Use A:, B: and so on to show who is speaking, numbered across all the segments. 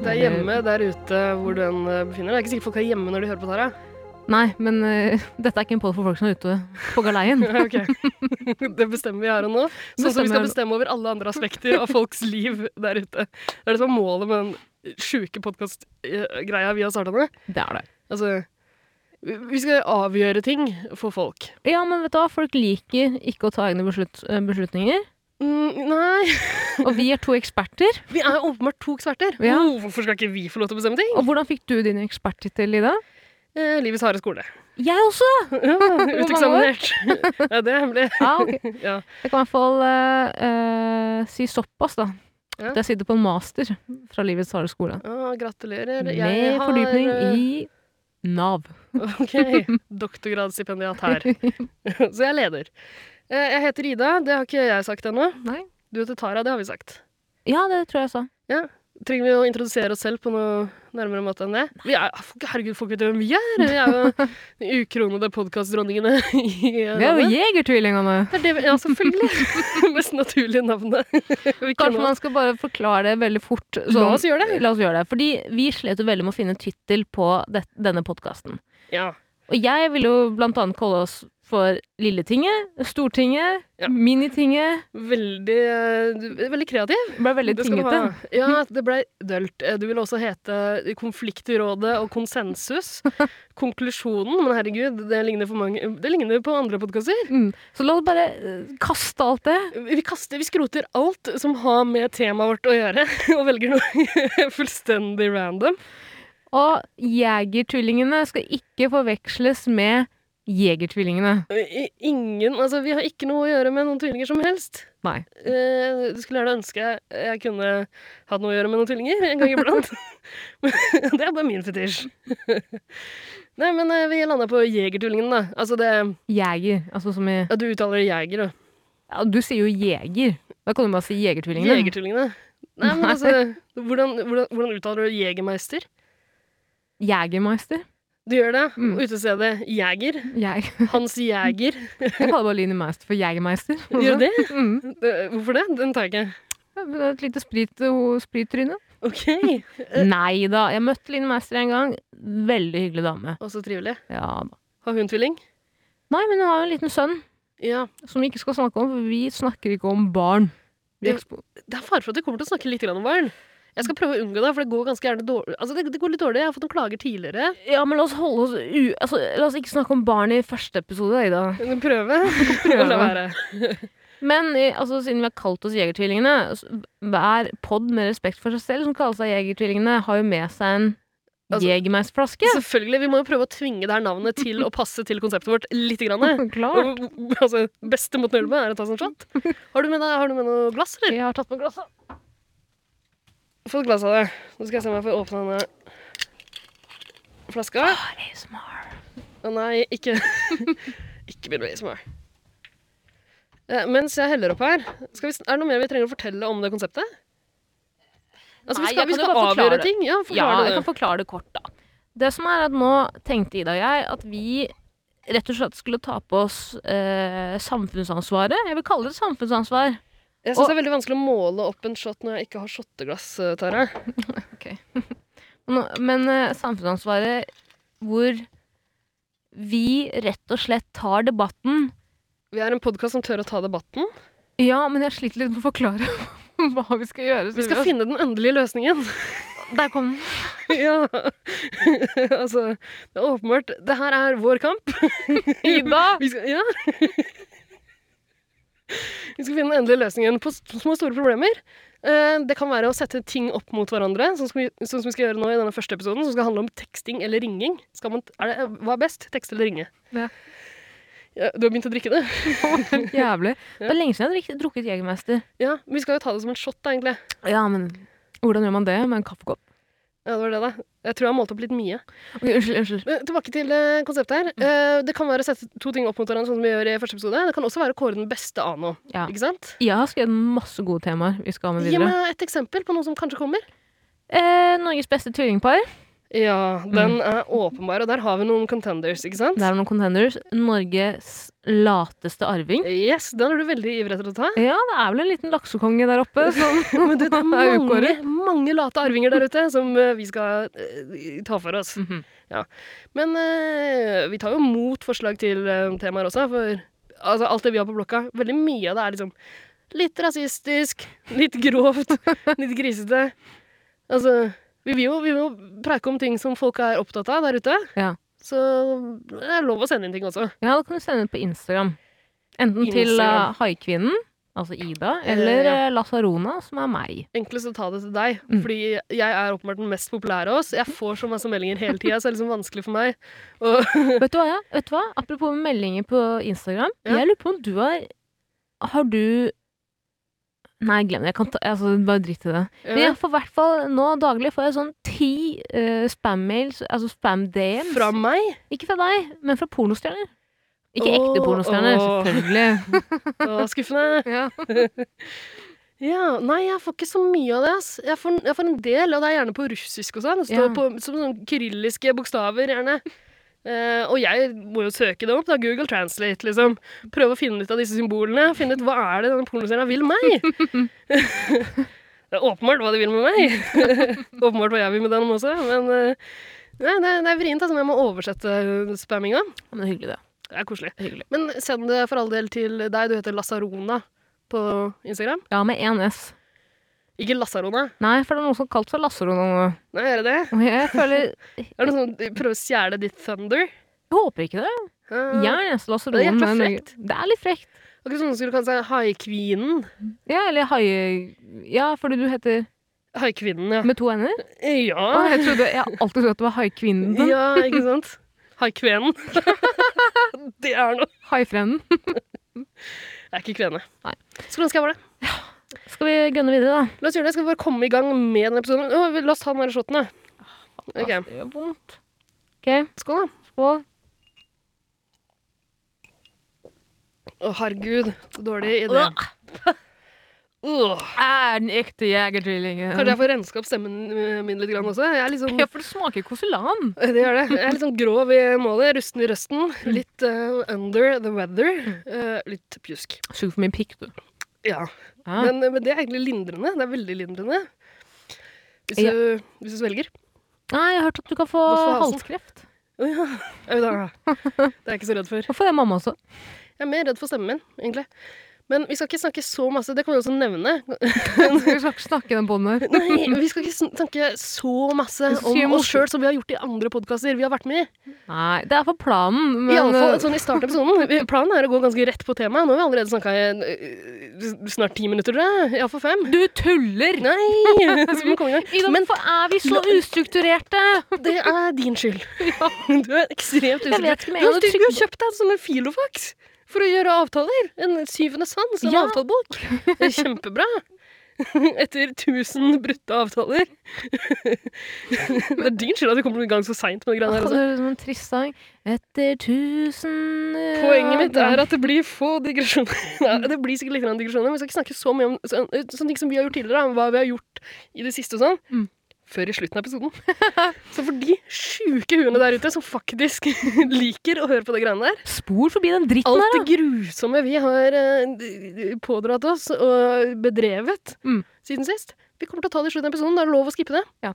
A: Det er hjemme der ute hvor du enn eh, befinner deg. Det er ikke sikkert folk er hjemme når de hører på dette.
B: Nei, men eh, dette er ikke en podd for folk som er ute på galeien.
A: her. Ok. Det bestemmer vi her og nå. Sånn som vi skal
B: Bestemmer.
A: bestemme over alle andre aspekter av folks liv der ute. Det er det som er målet med den sjuke podkast-greia vi har starta med.
B: Det er det.
A: Altså, vi vi skal avgjøre ting for folk.
B: Ja, men vet du hva? Folk liker ikke å ta egne beslut eh, beslutninger.
A: Mm, nei
B: Og vi er to eksperter.
A: Vi er jo åpenbart to eksperter.
B: Ja.
A: Oh, hvorfor skal ikke vi få lov til å bestemme ting?
B: Og hvordan fikk du din eksperttittel, Ida?
A: Eh, livets harde skole.
B: Jeg også!
A: Ja, Uteksaminert. ja, det er hemmelig.
B: Ja, ok.
A: Ja.
B: Jeg kan i hvert fall eh, eh, si såpass, da.
A: Ja.
B: At jeg sitter på en master fra Livets harde skole.
A: Ah, gratulerer.
B: Med
A: Jeg har,
B: fordypning
A: eh,
B: i Nav.
A: Ok, doktorgradsstipendiat her. Så jeg er leder. Eh, Jeg heter Ida, det har ikke jeg sagt ennå.
B: Nei.
A: Du heter Tara, det har vi sagt.
B: Ja, det tror jeg jeg sa.
A: Trenger vi å introdusere oss selv på noe nærmere måte enn det? Vi er, folk- herregud, folk vet jo hvem vi er! Vi er jo de ukronede podkastdronningene i eh,
B: Vi er jo
A: landet.
B: Jegertvillingene!
A: Det er det vi- Ja, selvfølgelig. Mest naturlige navnet. Vi
B: Kanskje
A: kunne-
B: man skal bare forklare det veldig fort. sånn.
A: La oss gjøre det.
B: La oss gjøre det. Fordi vi slet jo veldig med å finne tittel på det, denne podkasten.
A: Ja.
B: Og jeg ville jo blant annet kalle oss for Lilletinget, Stortinget,
A: Ja.
B: Minitinget.
A: Veldig, eh, du- veldig kreativ.
B: Ble veldig
A: Det skal du
B: tingete.
A: ha. Ja, altså, det ble dølt. Eh, Du ville også hete Konfliktrådet og konsensus. Konklusjonen, men herregud, det ligner, for mange, det ligner på andre podkaster.
B: Mm. Så la oss bare eh, kaste alt det.
A: Vi, kaster- vi skroter alt som har med temaet vårt å gjøre, og velger noe fullstendig random.
B: Og Jegertvillingene skal ikke forveksles med Jegertvillingene.
A: I- Ingen, altså, vi har ikke noe å gjøre med noen tvillinger som helst.
B: Nei.
A: Eh, Du skulle gjerne ønske jeg- jeg kunne hatt noe å gjøre med noen tvillinger en gang iblant. Men det er bare min fetisj. Nei, men eh, vi landa på Jegertvillingen, da. Altså det
B: Jeger. Altså som i
A: Ja, du uttaler det jeger, du.
B: ja, Du sier jo jeger. Da kan du bare si Jegertvillingene.
A: Jegertvillingene. Nei, men altså, hvordan, hvordan, hvordan uttaler du jegermeister?
B: Jegermeister.
A: Du gjør det.
B: Mm.
A: Utestedet Jeger.
B: Jeg,
A: Hans Jeger.
B: jeg kaller bare Line Meister for Jegermeister.
A: Gjør du det?
B: Mm.
A: Det- Hvorfor det? Den tar jeg ikke.
B: Ja, men det er Et lite sprit, eh, ho- sprittryne.
A: OK.
B: Nei da, jeg møtte Line Meister en gang. Veldig hyggelig dame.
A: Å, så trivelig.
B: Ja da.
A: Har hun tvilling?
B: Nei, men hun har jo en liten sønn
A: Ja.
B: som vi ikke skal snakke om, for vi snakker ikke om barn. Vi
A: Ja.
B: ekspo-
A: Det er fare for at vi kommer til å snakke litt grann om barn. Jeg skal prøve å unngå det, for det går ganske gjerne dårlig. Altså, det, det går litt dårlig. Jeg har fått noen klager tidligere.
B: Ja, men la oss holde oss u... Altså, la oss ikke snakke om barn i første episode, Ida.
A: Men Prøve.
B: Prøve.
A: La være.
B: Men eh, altså, siden vi har kalt oss Jegertvillingene, s- hver pod med respekt for seg selv som kaller seg Jegertvillingene, har jo med seg en
A: Altså-
B: Jegermeisterflaske.
A: Selvfølgelig. Vi må jo prøve å tvinge det her navnet til å passe til konseptet vårt litt. Grann.
B: Klart.
A: Og, altså, beste måten å gjøre det på er å ta seg en shot. Har du med, deg, har du med noe glass, eller?
B: Jeg har tatt med glasset.
A: Få et glass av det. Nå skal jeg se om jeg får åpne denne flaska.
B: ASMR.
A: Å nei, ikke Ikke begynn med ASMR. Eh, mens jeg heller opp her, skal vi, s- er det noe mer vi trenger å fortelle om det konseptet? Altså,
B: Nei,
A: vi skal,
B: jeg
A: vi
B: kan jo bare
A: skal
B: forklare
A: avgjøre
B: det.
A: ting. Ja,
B: Ja,
A: forklare
B: jeg
A: det.
B: kan forklare det kort, da. Det som er at nå tenkte Ida og jeg at vi rett og slett skulle ta på oss eh, samfunnsansvaret. Jeg vil kalle det samfunnsansvar.
A: Jeg syns det er veldig vanskelig å måle opp en shot når jeg ikke har shotteglass, eh, Tara.
B: Nå, men eh, samfunnsansvaret hvor vi rett og slett tar debatten.
A: Vi er en podkast som tør å ta debatten.
B: Ja, men jeg sliter litt med å forklare hva vi skal gjøre. så
A: Vi skal
B: vi-
A: finne den endelige løsningen.
B: Der kom den.
A: ja. altså, det er åpenbart. Det her er vår kamp.
B: Ida!
A: Vi skal, ja. Vi skal finne den endelige løsningen på små og store problemer. Eh, Det kan være å sette ting opp mot hverandre, sånn som vi, sånn som vi skal gjøre nå i denne første episoden, som skal handle om teksting eller ringing. Skal man, er det, hva er best? Tekste eller ringe?
B: Ja.
A: Ja, du har begynt å drikke det?
B: Jævlig. Det er lenge siden jeg har drukket- drukket Jegermeister.
A: Ja, men Vi skal jo ta det som en shot, da, egentlig.
B: Ja, men hvordan gjør man det med en kaffekopp?
A: Ja, det var det, da. Jeg tror jeg har målt opp litt mye.
B: Ok, unnskyld, unnskyld.
A: Men Tilbake til eh, konseptet her.
B: Mm.
A: Eh, Det kan være å sette to ting opp mot hverandre, sånn som vi gjør i første episode. Det kan også være å kåre den beste av noe.
B: Ja.
A: Ikke sant?
B: Jeg har skrevet masse gode temaer vi skal ha med
A: Gi
B: videre.
A: meg et eksempel på noe som kanskje kommer.
B: Eh, Norges beste tvillingpar.
A: Ja, den er åpenbar, og der har vi noen contenders, ikke sant?
B: Mm. Der er noen contenders. Norges lateste arving.
A: Yes, den er du veldig ivrig etter å ta.
B: Ja, det er vel en liten laksekonge der oppe som
A: Men du, det er
B: er
A: mange,
B: ukåret.
A: mange late arvinger der ute som eh, vi skal eh, ta for oss.
B: Mhm.
A: Men eh, vi tar jo mot forslag til eh, temaer også, for altså, alt det vi har på blokka, veldig mye av det er liksom litt rasistisk, litt grovt, litt grisete. Altså, vi vil jo, vi vil jo preike om ting som folk er opptatt av der ute.
B: Ja.
A: Så det er lov å sende inn ting også.
B: Ja, da kan du sende det på Instagram. Enten til
A: Instagram.
B: eh, haikvinnen, altså Ida,
A: Eh,
B: eller
A: ja.
B: eh, Lasarona, som er meg.
A: enklest å ta det til deg.
B: Mm.
A: Fordi jeg er åpenbart den mest populære av oss. Jeg får så masse meldinger hele tida, så det er liksom vanskelig for meg. Og,
B: Vet du hva, ja? Vet du hva? Apropos meldinger på Instagram.
A: Ja.
B: Jeg lurer på om du har Har du Nei, glem det. Jeg kan ta, altså, bare drit i det. Men jeg får i hvert fall nå daglig får jeg sånn ti eh, spam-mails, altså spam-DMs.
A: Eh, fra meg.
B: Ikke fra deg, men fra pornostjerner. Ikke
A: Åh,
B: ekte pornostjerner,
A: åh.
B: selvfølgelig.
A: Og skuffende.
B: ja.
A: Ja, nei, jeg får ikke så mye av det. ass. Jeg får, jeg får en del, og det er gjerne på russisk og sånn. Det står
B: Ja.
A: på som sånn kyrilliske bokstaver, gjerne. Eh, og jeg må jo søke det opp. da, Google Translate, liksom. Prøve å finne ut av disse symbolene. Finne ut hva er det denne pornoserien vil meg? det er åpenbart hva de vil med meg. åpenbart hva jeg vil med den også. Men eh, nei, det, det er vrient. Altså, jeg må oversette spamminga.
B: Men det er hyggelig, det.
A: Det er koselig.
B: det er hyggelig.
A: Men send det for all del til deg. Du heter Lasarona på Instagram.
B: Ja, med én S.
A: Ikke Lasarona.
B: Nei, for det er noen som har kalt for Lasarona nå.
A: Nei, gjør jeg det?
B: Og jeg føler
A: Er det noen som prøver å stjele ditt thunder?
B: Jeg håper ikke det.
A: Eh,
B: Jeg er nesten
A: Det er
B: lasaronen.
A: jækla
B: men-
A: frekt.
B: Det er litt frekt.
A: Akkurat som noen skulle kalle seg haikvinen.
B: Ja, eller haie... Ja, fordi du heter
A: Haikvinnen, ja.
B: Med to n-er? Å,
A: ja.
B: Jeg trodde Jeg har alltid trodd at det var haikvinnen. din.
A: Ah. ja, ikke sant? Haikvenen. det er noe.
B: Haifrenden.
A: Jeg er ikke kvene.
B: Nei.
A: Skulle ønske jeg var det.
B: Skal vi gønne videre,
A: La oss gjøre det. Skal vi bare komme i gang med denne episoden? Å, la oss ta den der shotten, da.
B: da?
A: Ok,
B: Det gjør vondt. OK,
A: skål, da.
B: skål.
A: Å, herregud. Så dårlig idé.
B: Ah.
A: Åh.
B: Er den ekte jegertvillingen.
A: Kanskje jeg får renske opp stemmen eh, min litt grann også? Jeg er litt sånn
B: Ja, for det smaker koselan.
A: Det gjør det. Jeg er litt sånn grov i målet, rusten i røsten. Litt eh, under the weather. eh, litt pjusk.
B: Sug for mye pikk, du.
A: Ja.
B: Ja.
A: Men, eh, men det er egentlig lindrende. Det er veldig lindrende. Hvis
B: Ja.
A: du, hvis du svelger.
B: Nei, jeg har hørt at du kan få
A: Du får halsen.
B: halskreft.
A: Å ja. Au da. Det er jeg ikke så redd for.
B: Hvorfor er mamma også?
A: Jeg er mer redd for stemmen min, egentlig. Men vi skal ikke snakke så masse. Det kan vi også nevne.
B: Vi skal ikke snakke i den bånden her.
A: Nei, vi skal ikke sn- snakke så masse
B: Vi skal si
A: om
B: masse.
A: oss sjøl som vi har gjort i andre podkaster vi har vært med i.
B: Nei, det er for planen, men eh,
A: I alle fall sånn i starten av episoden. Vi- Planen er å gå ganske rett på temaet. Nå har vi allerede snakka i øh, snart ti minutter, tror jeg. Iallfall fem.
B: Du tuller!
A: Nei! Så vi må komme i gang.
B: Ida,
A: Men
B: hvorfor er vi så ustrukturerte?
A: det er din skyld. Du er ekstremt
B: Jeg
A: usikker.
B: vet
A: Du,
B: ikke, men
A: har
B: jeg hadde
A: styr- du har kjøpt deg en sånn filofax for å gjøre avtaler. En syvende sans, en
B: Ja.
A: avtalebok. Det er Kjempebra. Etter 1000 brutte avtaler. Det er din skyld at vi kommer i gang så seint med det greiene her.
B: Åh,
A: Altså.
B: det er som en trist sang. Etter tusen eh,
A: Poenget mitt er at det blir få digresjoner. Nei, det blir sikkert litt grann digresjoner, men vi skal ikke snakke så mye om så, sånne ting som vi har gjort tidligere, om hva vi har gjort i det siste og sånn,
B: Mm.
A: før i slutten av episoden. Så for de sjuke huene der ute som faktisk liker å høre på det greiene der,
B: Spor forbi den dritten
A: alt
B: her, da!
A: det grusomme vi har eh, pådratt oss og bedrevet
B: Mm.
A: siden sist, vi kommer til å ta det i slutten av episoden, da er det lov å skippe det.
B: Ja.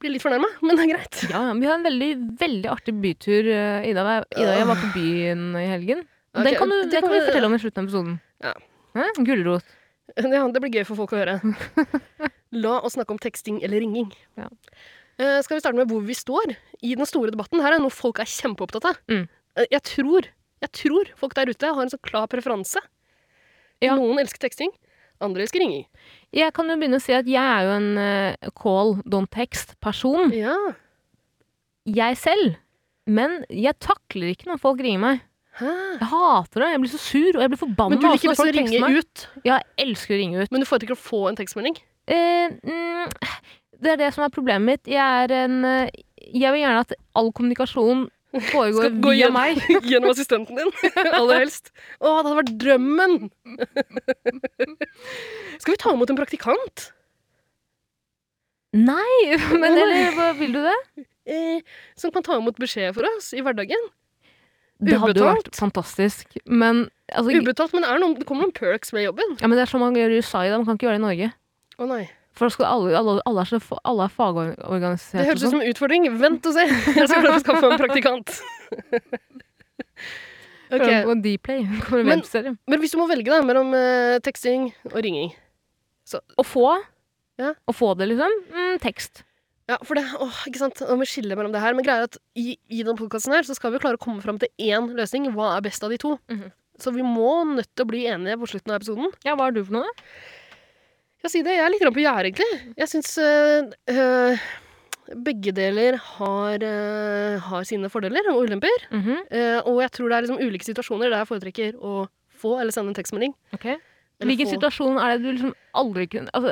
A: Blir litt fornærma, men det er greit.
B: Ja, ja, vi har en veldig veldig artig bytur. eh, Ida, og jeg- Ida og jeg var på byen i helgen.
A: Ok,
B: den kan, du,
A: det
B: det kan
A: kan
B: vi
A: vi-
B: fortelle om i slutten av episoden.
A: Ja.
B: Hæ? Gulrot.
A: Ja, det blir gøy for folk å høre. La oss snakke om teksting eller ringing.
B: Ja.
A: Eh, skal vi starte med hvor vi står i den store debatten? Her er noe folk er kjempeopptatt av.
B: Mm.
A: Eh, jeg, tror, jeg tror folk der ute har en sånn klar preferanse.
B: Ja.
A: Noen elsker teksting, andre elsker ringing.
B: Jeg kan jo begynne å si at jeg er jo en eh, call don't text-person.
A: Ja.
B: Jeg selv. Men jeg takler ikke når folk ringer meg.
A: Hæ?
B: Jeg hater det. Jeg blir så sur, og jeg blir forbanna.
A: Men du
B: også når
A: liker best å
B: folk tekster meg.
A: ringe ut,
B: Ja, jeg elsker å ringe ut.
A: men du foretrekker å få en tekstmelding?
B: Eh, mm, det er det som er problemet mitt. Jeg er en eh, Jeg vil gjerne at all kommunikasjon foregår
A: Skal gå
B: via
A: gjennom-
B: meg.
A: Gjennom assistenten din, aller helst. Å, det hadde vært drømmen! Skal vi ta imot en praktikant?
B: Nei, men
A: Nei.
B: eller, hva- vil du det?
A: Eh, som kan ta imot beskjed for oss i hverdagen.
B: Det hadde jo vært
A: Ubetalt.
B: fantastisk. Men, altså,
A: Ubetalt, men det, er noen, det kommer noen perks med jobben.
B: ja, men det er som man gjør i USA i dag, man kan ikke gjøre det i Norge.
A: Å nei.
B: For da skal alle, alle, alle, er, så- alle er fagorganiserte.
A: Det
B: og
A: høres ut
B: sånn.
A: som en utfordring. Vent og se. Jeg skal prøve å skaffe meg en praktikant.
B: Prøv
A: Ok,
B: på Dplay. Kommer en
A: Men-
B: webserie.
A: Men hvis du må velge da, mellom eh, teksting og ringing
B: Å få,
A: Ja.
B: å få det, liksom. Mm, tekst.
A: Ja, for det, åh, ikke sant, Nå må vi skille mellom det her. Men greia er at i, i denne podkasten her så skal vi klare å komme fram til én løsning. Hva er best av de to?
B: Mhm.
A: Så vi må nødt til å bli enige på slutten av episoden.
B: Ja, hva er du for noe? da?
A: Jeg sier det, jeg er litt grann på gjerdet, egentlig. Jeg syns øh, øh, begge deler har, øh, har sine fordeler og ulemper.
B: Mhm,
A: Eh, og jeg tror det er liksom ulike situasjoner der jeg foretrekker å få eller sende en tekstmelding.
B: ok.
A: Eller
B: Hvilken
A: få-
B: situasjon er det du liksom aldri kunne Altså,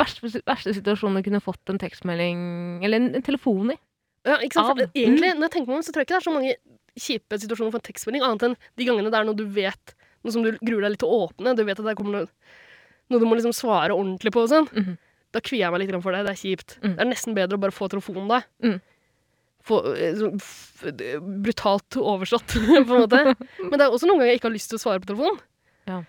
B: verste, verste situasjonen du kunne fått en tekstmelding Eller en, en telefon i.
A: Ja, ikke sant?
B: Av. Mm.
A: For Egentlig, når jeg tenker meg om, så tror jeg ikke det er så mange kjipe situasjoner for en tekstmelding, annet enn de gangene det er noe du vet, noe som du gruer deg litt til å åpne, du vet at det kommer noe, noe du må liksom svare ordentlig på og sånn.
B: Mhm.
A: Da kvier jeg meg litt grann for det, det er kjipt.
B: Mm.
A: Det er nesten bedre å bare få telefonen da.
B: Mm.
A: Få, eh, så, f d- brutalt overslått, på en måte. Men det er også noen ganger jeg ikke har lyst til å svare på telefonen.
B: Ja.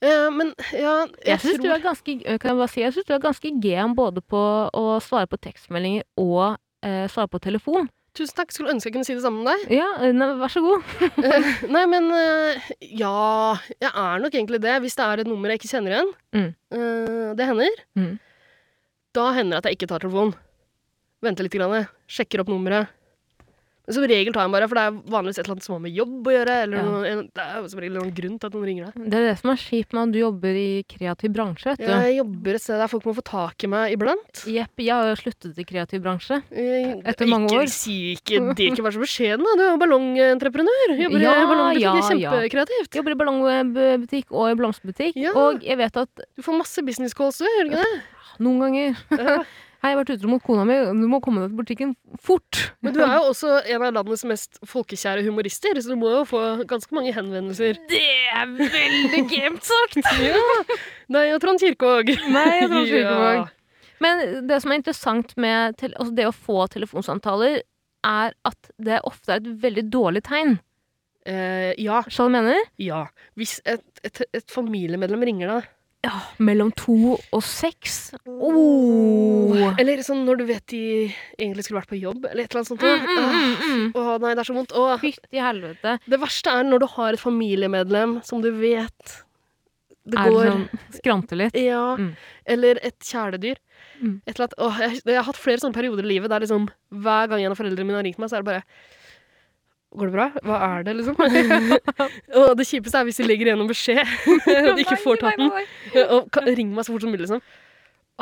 A: Eh, men ja,
B: Jeg syns
A: tror-
B: du er ganske eh, Kan jeg bare si Jeg synes du er ganske gen både på å svare på tekstmeldinger og eh, svare på telefon.
A: Tusen takk, skulle ønske jeg kunne si det samme med deg.
B: Ja, eh, nei, vær så god.
A: Eh, Nei, men eh, ja Jeg er nok egentlig det. Hvis det er et nummer jeg ikke kjenner igjen,
B: Mm.
A: eh, det hender,
B: Mm.
A: da hender det at jeg ikke tar telefonen. Venter litt, grann, sjekker opp nummeret. Men som regel tar jeg den bare, for det er vanligvis et eller annet som har med jobb å gjøre. Eller
B: Ja.
A: noe, en, det er jo som regel noen grunn til at noen ringer deg.
B: Det er det som er kjipt med at du jobber i kreativ bransje, vet du.
A: Jeg jobber et sted der folk må få tak i meg iblant.
B: Jepp, jeg har jo sluttet i kreativ bransje.
A: Eh,
B: Etter mange
A: ikke,
B: år.
A: Si ikke det, ikke vær så beskjeden, da. Du er jo ballongentreprenør. Jobber i
B: Ja,
A: ballongbutikk.
B: ja,
A: det er
B: ja.
A: Kjempekreativt.
B: Jobber i ballongbutikk og i blomsterbutikk.
A: Ja.
B: Og jeg vet at
A: Du får masse business calls, du, gjør du ikke det?
B: noen ganger Hei, jeg har vært utro mot kona mi, du må komme deg til butikken fort!
A: Men du er jo også en av landets mest folkekjære humorister, så du må jo få ganske mange henvendelser.
B: Det er veldig gamet sagt!
A: Nei, og Trond Kirkevåg.
B: Nei, jeg tror ikke på
A: Ja.
B: meg. Men det som er interessant med tele- altså det å få telefonsamtaler, er at det ofte er et veldig dårlig tegn.
A: Eh, ja,
B: Skjønner du hva jeg mener?
A: ja. Hvis et, et, et familiemedlem ringer deg
B: Ja, mellom to og seks. Oh.
A: Eller sånn når du vet de egentlig skulle vært på jobb, eller et eller annet sånt.
B: Mm, mm, mm, mm.
A: Åh, Åh, nei, det er så vondt. Åh.
B: Fytti helvete.
A: Det verste er når du har et familiemedlem som du vet det
B: Er
A: går
B: det sånn skrante litt?
A: Ja.
B: Mm.
A: Eller et kjæledyr.
B: Mm.
A: Et eller annet. Åh, jeg, jeg har hatt flere sånne perioder i livet der liksom, hver gang en av foreldrene mine har ringt meg, så er det bare Går det bra? Hva er det, liksom? og det kjipeste er hvis de legger igjen en beskjed og de ikke får tatt den. Og ka- ring meg så fort som mulig, liksom.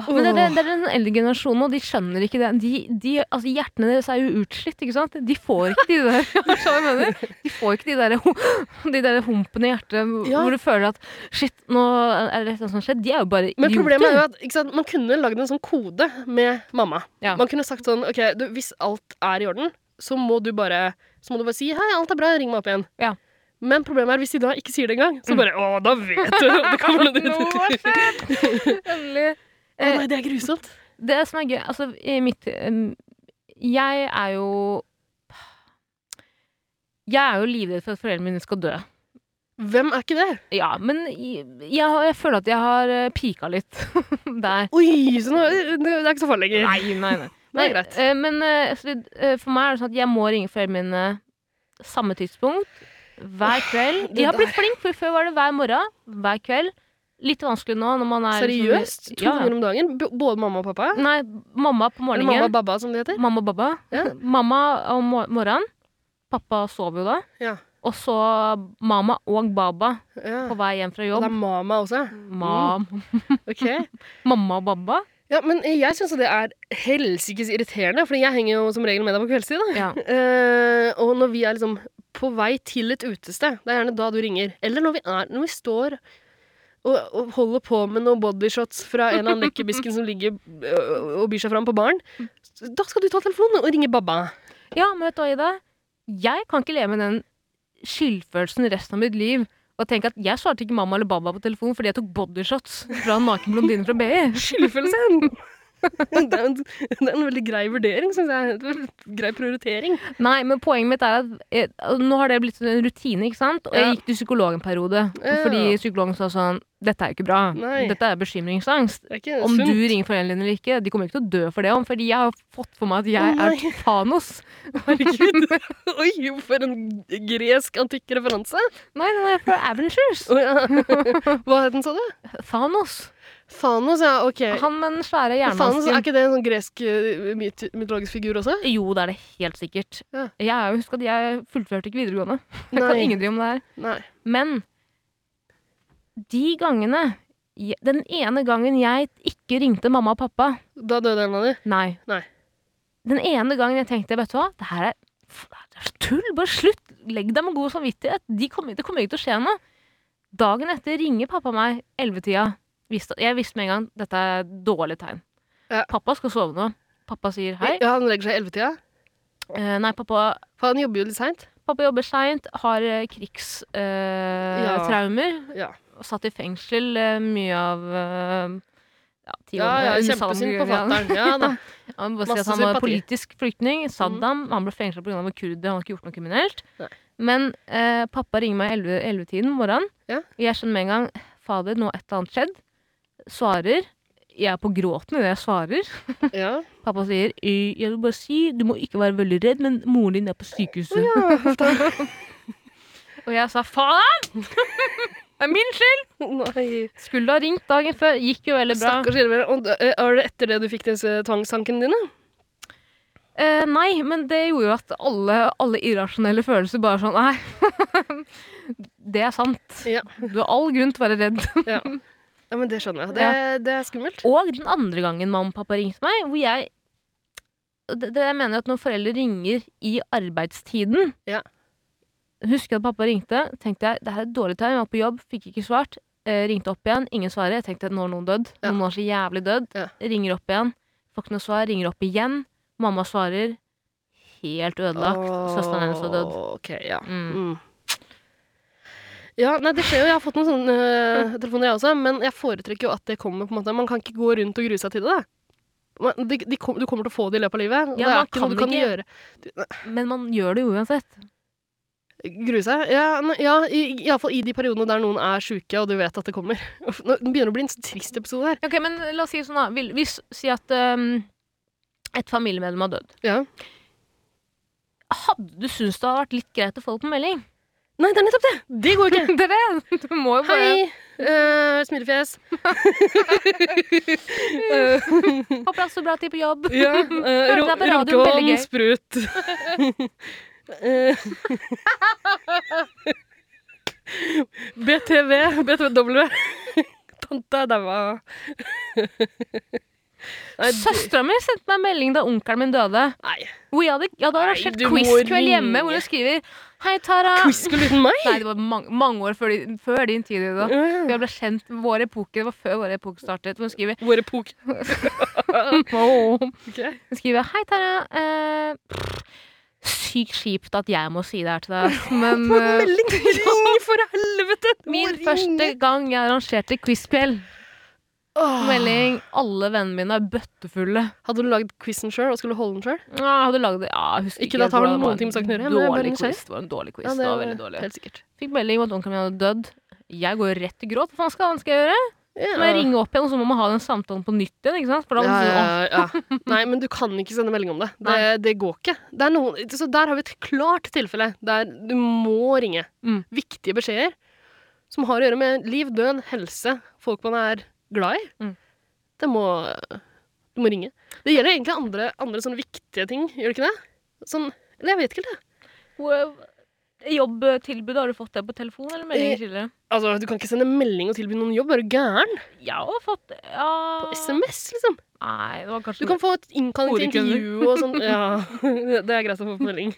A: Åh.
B: Men det, er- det er den eldre generasjonen, og de skjønner ikke det. De, de, altså, hjertene deres er jo utslitt, ikke sant? De får ikke de der Skjønner du hva jeg mener? De får ikke de der, hu- de der humpene i hjertet hvor-
A: Ja.
B: hvor du føler at shit, nå er det et eller annet som har skjedd. De er jo bare
A: Men problemet er
B: idioter.
A: jo at ikke sant, man kunne lagd en sånn kode med mamma.
B: Ja.
A: Man kunne sagt sånn OK, du, hvis alt er i orden, så må du bare Så må du bare si 'hei, alt er bra, ring meg opp igjen'.
B: Ja. Mm.
A: Men problemet er hvis de da ikke sier det engang, så bare 'å, da vet du'. Det kommer noe
B: Nå har det skjedd! Endelig.
A: Å nei, det er grusomt.
B: Det som er gøy Altså, i mitt em, Jeg er jo Jeg er jo livredd for at foreldrene mine skal dø.
A: Hvem er ikke det?
B: Ja, men jeg, jeg, har- jeg føler at jeg har eh, pika litt der.
A: Oi, så nå, det er ikke så farlig lenger.
B: Nei, nei, nei.
A: det er greit.
B: eh, men eh, så, det- eh, for meg er det sånn at jeg må ringe foreldrene mine samme tidspunkt. Hver kveld.
A: det
B: De har
A: der.
B: blitt flink, for før var det hver morgen, hver kveld. Litt vanskelig nå når man er sånn-
A: Seriøst? To
B: ja. Mm,
A: ganger om dagen? B både mamma og pappa?
B: Nei, mamma på
A: Eller
B: morgenen.
A: mamma og babba, som det heter?
B: Mamma og babba.
A: Ja.
B: Mamma om mor- morgenen. Pappa sover jo da.
A: Ja.
B: Og så mamma og baba
A: ja.
B: på vei hjem fra
A: Og det
B: jobb.
A: er mama også?
B: Ma,
A: Ok.
B: mamma og baba.
A: Ja, men jeg syns det er helsikes irriterende, for jeg henger jo som regel med deg på kveldstid. da.
B: Ja.
A: Eh, og når vi er liksom på vei til et utested, det er gjerne da du ringer. Eller når vi, er, når vi står og, og holder på med noen bodyshots fra en eller annen lekkerbisken som ligger øh, og byr seg fram på baren, da skal du ta telefonen og ringe babba.
B: Ja, men vet du hva, Ida? Jeg kan ikke leve med den skyldfølelsen resten av mitt liv. Og tenke at jeg svarte ikke mamma eller baba på telefonen fordi jeg tok bodyshots fra en naken blondine fra BI.
A: Skyldfølelsen! det, er en, det er en veldig grei vurdering, syns jeg. Det er en Grei prioritering.
B: Nei, men poenget mitt er at eh, nå har det blitt en rutine, ikke sant? Og
A: Ja.
B: jeg gikk til psykolog en periode.
A: Ja.
B: Fordi psykologen sa sånn Dette er jo ikke bra.
A: Nei.
B: Dette er bekymringsangst.
A: Det er ikke
B: Om
A: sunt.
B: du ringer foreldrene dine eller ikke, de kommer ikke til å dø for det. om, Fordi jeg har fått for meg at
A: Å,
B: jeg
A: nei.
B: er Thanos.
A: Herregud. Oi, for en gresk antikk referanse.
B: Nei, den er fra Avengers.
A: Å, ja. Hva het den, sa du?
B: Thanos.
A: Thanos, ja. Ok.
B: Han med den svære hjernen
A: Thanos, er
B: sin.
A: ikke det en sånn gresk eh, myt mytologisk figur også?
B: Jo, det er det helt sikkert.
A: Ja.
B: Jeg er jo- husk at jeg fullførte ikke videregående. Jeg kan
A: Nei.
B: ingenting om det her.
A: Nei.
B: Men de gangene je- Den ene gangen jeg ikke ringte mamma og pappa
A: Da døde en av dem.
B: Nei.
A: Nei.
B: Den ene gangen jeg tenkte vet du hva, det her er, f- det er tull, bare slutt. Legg deg med god samvittighet. De kommer, det kommer ikke til å skje noe. Dagen etter ringer pappa meg 11-tida. Visste- Jeg visste med en gang dette er et dårlig tegn.
A: Ja.
B: Pappa skal sove nå. Pappa sier hei.
A: Ja, han legger seg i ellevetida.
B: Eh, nei, pappa
A: For han jobber jo litt seint.
B: Pappa jobber seint, har eh, krigstraumer.
A: Ja.
B: Satt i fengsel eh, mye av eh, ja, ti
A: Ja,
B: år.
A: ja,
B: under
A: kjempesynd på
B: Saddam-
A: fatter'n. Ja da.
B: Han, må bare si
A: Masse
B: at han var
A: sympati. Mm.
B: politisk flyktning. Saddam. Han ble fengsla pga. kurder. Han har ikke gjort noe kriminelt.
A: Nei.
B: Men eh, pappa ringer meg i 11 11-tiden morgenen.
A: Ja.
B: Jeg skjønner med en gang Fader, nå har et eller annet skjedd. Svarer. Jeg er på gråten idet jeg svarer.
A: Ja.
B: Pappa sier «Eh, Jeg vil bare si, du må ikke være veldig redd, men moren din er på sykehuset. og jeg sa faen! Det er min skyld!
A: Nei.
B: Skulle ha ringt dagen før. Gikk jo veldig bra.
A: Stakkars Ylver. Og da- eh, Var det etter det du fikk disse tvangstankene dine?
B: Eh, nei, men det gjorde jo at alle, alle irrasjonelle følelser bare sånn Nei. det er sant.
A: Ja.
B: Du har all grunn til å være redd.
A: ja men det skjønner jeg. Det, det er skummelt.
B: Og den andre gangen mamma og pappa ringte meg, hvor jeg det, det Jeg mener at når foreldre ringer i arbeidstiden
A: Ja.
B: Husker jeg at pappa ringte, tenkte jeg det her er et dårlig tegn. Jeg var på jobb, fikk ikke svart. Eh, ringte opp igjen, ingen svarer. Jeg tenkte nå har noen dødd.
A: Ja.
B: Noen har så jævlig dødd.
A: Ja.
B: Ringer opp igjen, får ikke noe svar. Ringer opp igjen. Mamma svarer. Helt ødelagt. Søsteren hennes var død.
A: Åh, Ok, ja.
B: Mm.
A: Mm. Ja, nei, det skjer jo. Jeg har fått noen sånne eh, telefoner, jeg også. Men jeg foretrekker jo at det kommer. på en måte. Man kan ikke gå rundt og grue seg til det. da. Man, de, de kom, du kommer til å få det i løpet av livet. og
B: Ja,
A: det
B: man
A: er ikke noe
B: kan
A: du kan
B: ikke-
A: gjøre.
B: Men man gjør det jo uansett.
A: Grue seg? Ja, nei, ja iallfall i de periodene der noen er sjuke, og du vet at det kommer. Uff, Nå det begynner å bli en så trist episode her.
B: Ok, men la oss si sånn, da. Vil- Hvis Si at um, et familiemedlem har dødd.
A: Ja.
B: hadde du syntes det hadde vært litt greit å få det på melding?
A: Nei, det er nettopp det! Det går ikke.
B: Det er det! Du må jo bare
A: Hei! Uh, smilefjes. Eh,
B: Håper jeg har så bra tid på jobb.
A: ja. eh, ro-
B: Hørte deg på radioen,
A: Runkeholm,
B: veldig gøy.
A: sprut. Eh, BTV, BTW. Tante er daua. Nei, du-
B: Søstera mi sendte meg en melding da onkelen min døde.
A: nei.
B: Hvor jeg hadde, jeg hadde
A: Nei,
B: arrangert
A: du må
B: quizkveld
A: ringe.
B: hjemme, hvor hun skriver Hei, Tara.
A: Quiz-gull uten meg?
B: Nei, det var mange, mange år før, din- før din tid. Da.
A: Ja.
B: Jeg ble kjent vår epoke. Det var før vår epoke startet. Hvor hun skriver
A: Vår epoke.
B: Hun
A: Ok.
B: skriver Hei, Tara. Eh, pff, sykt kjipt at jeg må si det her til deg, ass, men
A: Få en
B: eh,
A: melding! Ring, for helvete!
B: Min
A: Ring.
B: første gang jeg arrangerte quizkveld.
A: Åh.
B: Melding. Alle vennene mine er bøttefulle.
A: Hadde du lagd quizen sjøl og skulle holde den sjøl?
B: Ja, jeg hadde laget det. Ja, jeg husker
A: Ikke at det har
B: hvordan
A: noen
B: var.
A: ting med saken å gjøre, men jeg er bare
B: Dårlig
A: nysgjerrig.
B: quiz. Det var en dårlig quiz. det var veldig dårlig.
A: Helt sikkert.
B: Fikk melding om at onkelen min hadde dødd. Jeg går rett i gråt. Hva faen skal, hva skal jeg gjøre?
A: Ja.
B: Så må jeg ringe opp igjen, og så må man ha den samtalen på nytt igjen. ikke sant? For da
A: Ja,
B: må man si,
A: ja,
B: «Åh,
A: ja. ja. Nei, men du kan ikke sende melding om det. Det,
B: Nei.
A: det går ikke. Det er noen, så der har vi et klart tilfelle der du må ringe.
B: Mm.
A: Viktige beskjeder som har å gjøre med liv, død, helse, folk man er glad i.
B: Mm.
A: Det må Du må ringe. Det gjelder egentlig andre, andre sånne viktige ting, gjør det ikke det? Sånn Eller jeg vet ikke, det.
B: hvor- Jobbtilbud, har du fått det på telefon eller meldinger
A: Eh,
B: tidligere?
A: Altså, Du kan ikke sende melding og tilby noen jobb. Er du gæren?
B: Jeg har fått ja.
A: På SMS, liksom.
B: Nei, det var kanskje
A: Du kan få et innkalling til
B: Horekunder.
A: intervju og sånn. Ja, Det er greit å få på melding.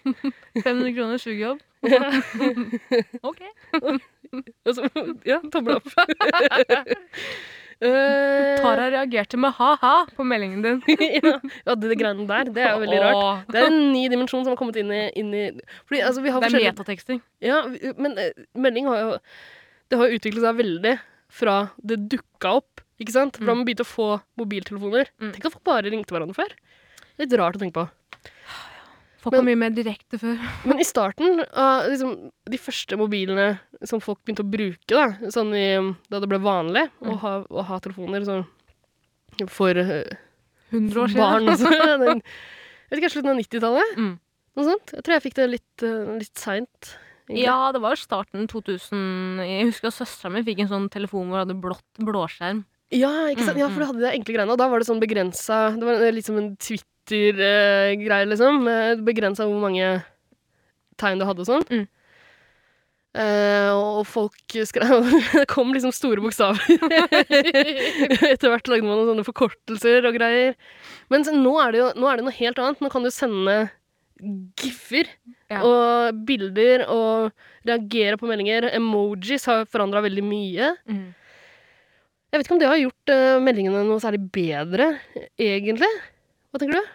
B: 500 kroner sugejobb. ok.
A: Altså, ja, tommel opp. Eh,
B: Tara reagerte med ha-ha på meldingen din.
A: ja, ja, det, det greiene der, det er jo veldig rart.
B: Åh,
A: Det er en ny dimensjon som har kommet inn i, inn i Fordi altså, vi har
B: Det er
A: forskjellige
B: metateksting.
A: Ja, vi- men eh, melding har jo Det har jo utviklet seg veldig fra det dukka opp, ikke sant? Fra man begynte å få mobiltelefoner.
B: Mm.
A: Tenk at folk bare ringte hverandre før. Det er litt rart å tenke på.
B: Folk
A: Men-
B: var mye mer direkte før.
A: Men i starten av liksom, de første mobilene som folk begynte å bruke, da, sånn i, da det ble vanlig
B: Mm.
A: å, ha, å ha telefoner sånn, for eh,
B: 100 år siden.
A: barn og sånn den- Jeg vet ikke, slutten av 90-tallet?
B: Mm.
A: Noe sånt. Jeg tror jeg fikk det litt, uh, litt seint. egentlig.
B: Ja, det var jo starten 2000. Jeg husker at søstera mi fikk en sånn telefon hvor det hadde blått blåskjerm.
A: Ja, ikke
B: Mm,
A: sant? ja, for du hadde de enkle greiene, og da var det sånn begrensa Det var eh, litt som en Twitter-greie, liksom. Begrensa hvor mange tegn du hadde og sånn.
B: Mm.
A: Eh, og folk skrev Det kom liksom store bokstaver. Etter hvert lagde man noen sånne forkortelser og greier. Men så nå er det jo nå er det noe helt annet. Nå kan du sende giffer
B: Ja.
A: og bilder og reagere på meldinger. Emojis har forandra veldig mye. Jeg vet ikke om det har gjort eh, meldingene noe særlig bedre, egentlig. Hva tenker du?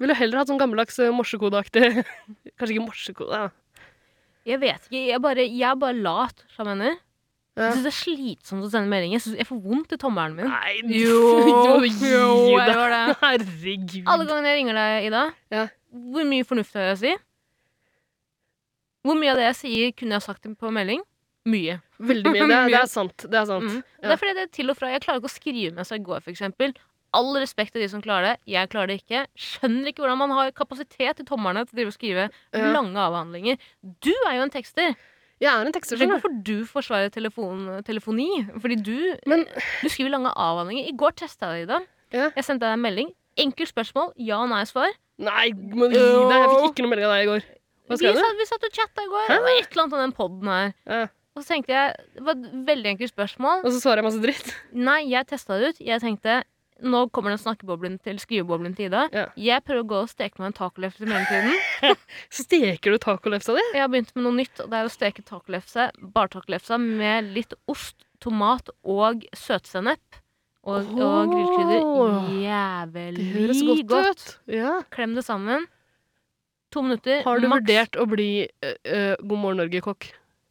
A: Ville du heller hatt sånn gammeldags eh, morsekodeaktig Kanskje ikke morsekode, da.
B: Jeg vet ikke. Jeg er bare, jeg er bare lat, skjønner du?
A: Ja.
B: Jeg syns det er slitsomt å sende meldinger. Jeg, synes jeg får vondt i tommelen min.
A: Nei,
B: Jo,
A: du- gi
B: jo, jeg
A: deg.
B: gjør det.
A: Herregud.
B: Alle gangene jeg ringer deg, Ida,
A: Ja.
B: hvor mye fornuft har jeg å si? Hvor mye av det jeg sier, kunne jeg sagt på melding? Mye.
A: Veldig mye. Det er, det
B: Mye.
A: er sant. Det er sant.
B: Mm.
A: Ja.
B: Det er fordi det er til og fra. Jeg klarer ikke å skrive mens jeg går, f.eks. All respekt til de som klarer det. Jeg klarer det ikke. Skjønner ikke hvordan man har kapasitet i tommerne til å drive og skrive
A: Ja.
B: lange avhandlinger. Du er jo en tekster.
A: Eh, Jeg er en
B: Så
A: tekster,
B: skjønner
A: skjønner du.
B: hvorfor du forsvarer telefon, telefoni. Fordi du,
A: Men
B: du skriver lange avhandlinger. I går testa jeg deg, Ida.
A: Ja.
B: Jeg sendte deg en melding. Enkelt spørsmål. Ja- og nei-svar.
A: nei, må du gi deg. Jeg fikk ikke noe melding av deg i går. Hva
B: vi,
A: skrev du?
B: satt, vi satt og chatta i går.
A: Hæ?
B: Det var et eller annet om den podden her.
A: Ja.
B: Og så tenkte jeg, Det var et veldig enkelt spørsmål.
A: Og så svarer jeg masse dritt.
B: Nei, jeg testa det ut. Jeg tenkte nå kommer den snakkeboblen til skriveboblen til Ida.
A: Ja.
B: Jeg prøver å gå og steke meg en tacolefse i mellomtiden.
A: Steker du tacolefsa di?
B: Jeg har begynt med noe nytt, og det er å steke tacolefse, bartacolefse, med litt ost, tomat og søtsennep. Og, og grillkrydder.
A: Åh.
B: Jævlig
A: Det høres godt,
B: godt.
A: ut. Ja.
B: Klem det sammen. To minutter.
A: Har du
B: maks.
A: vurdert å bli eh, eh, God morgen Norge-kokk?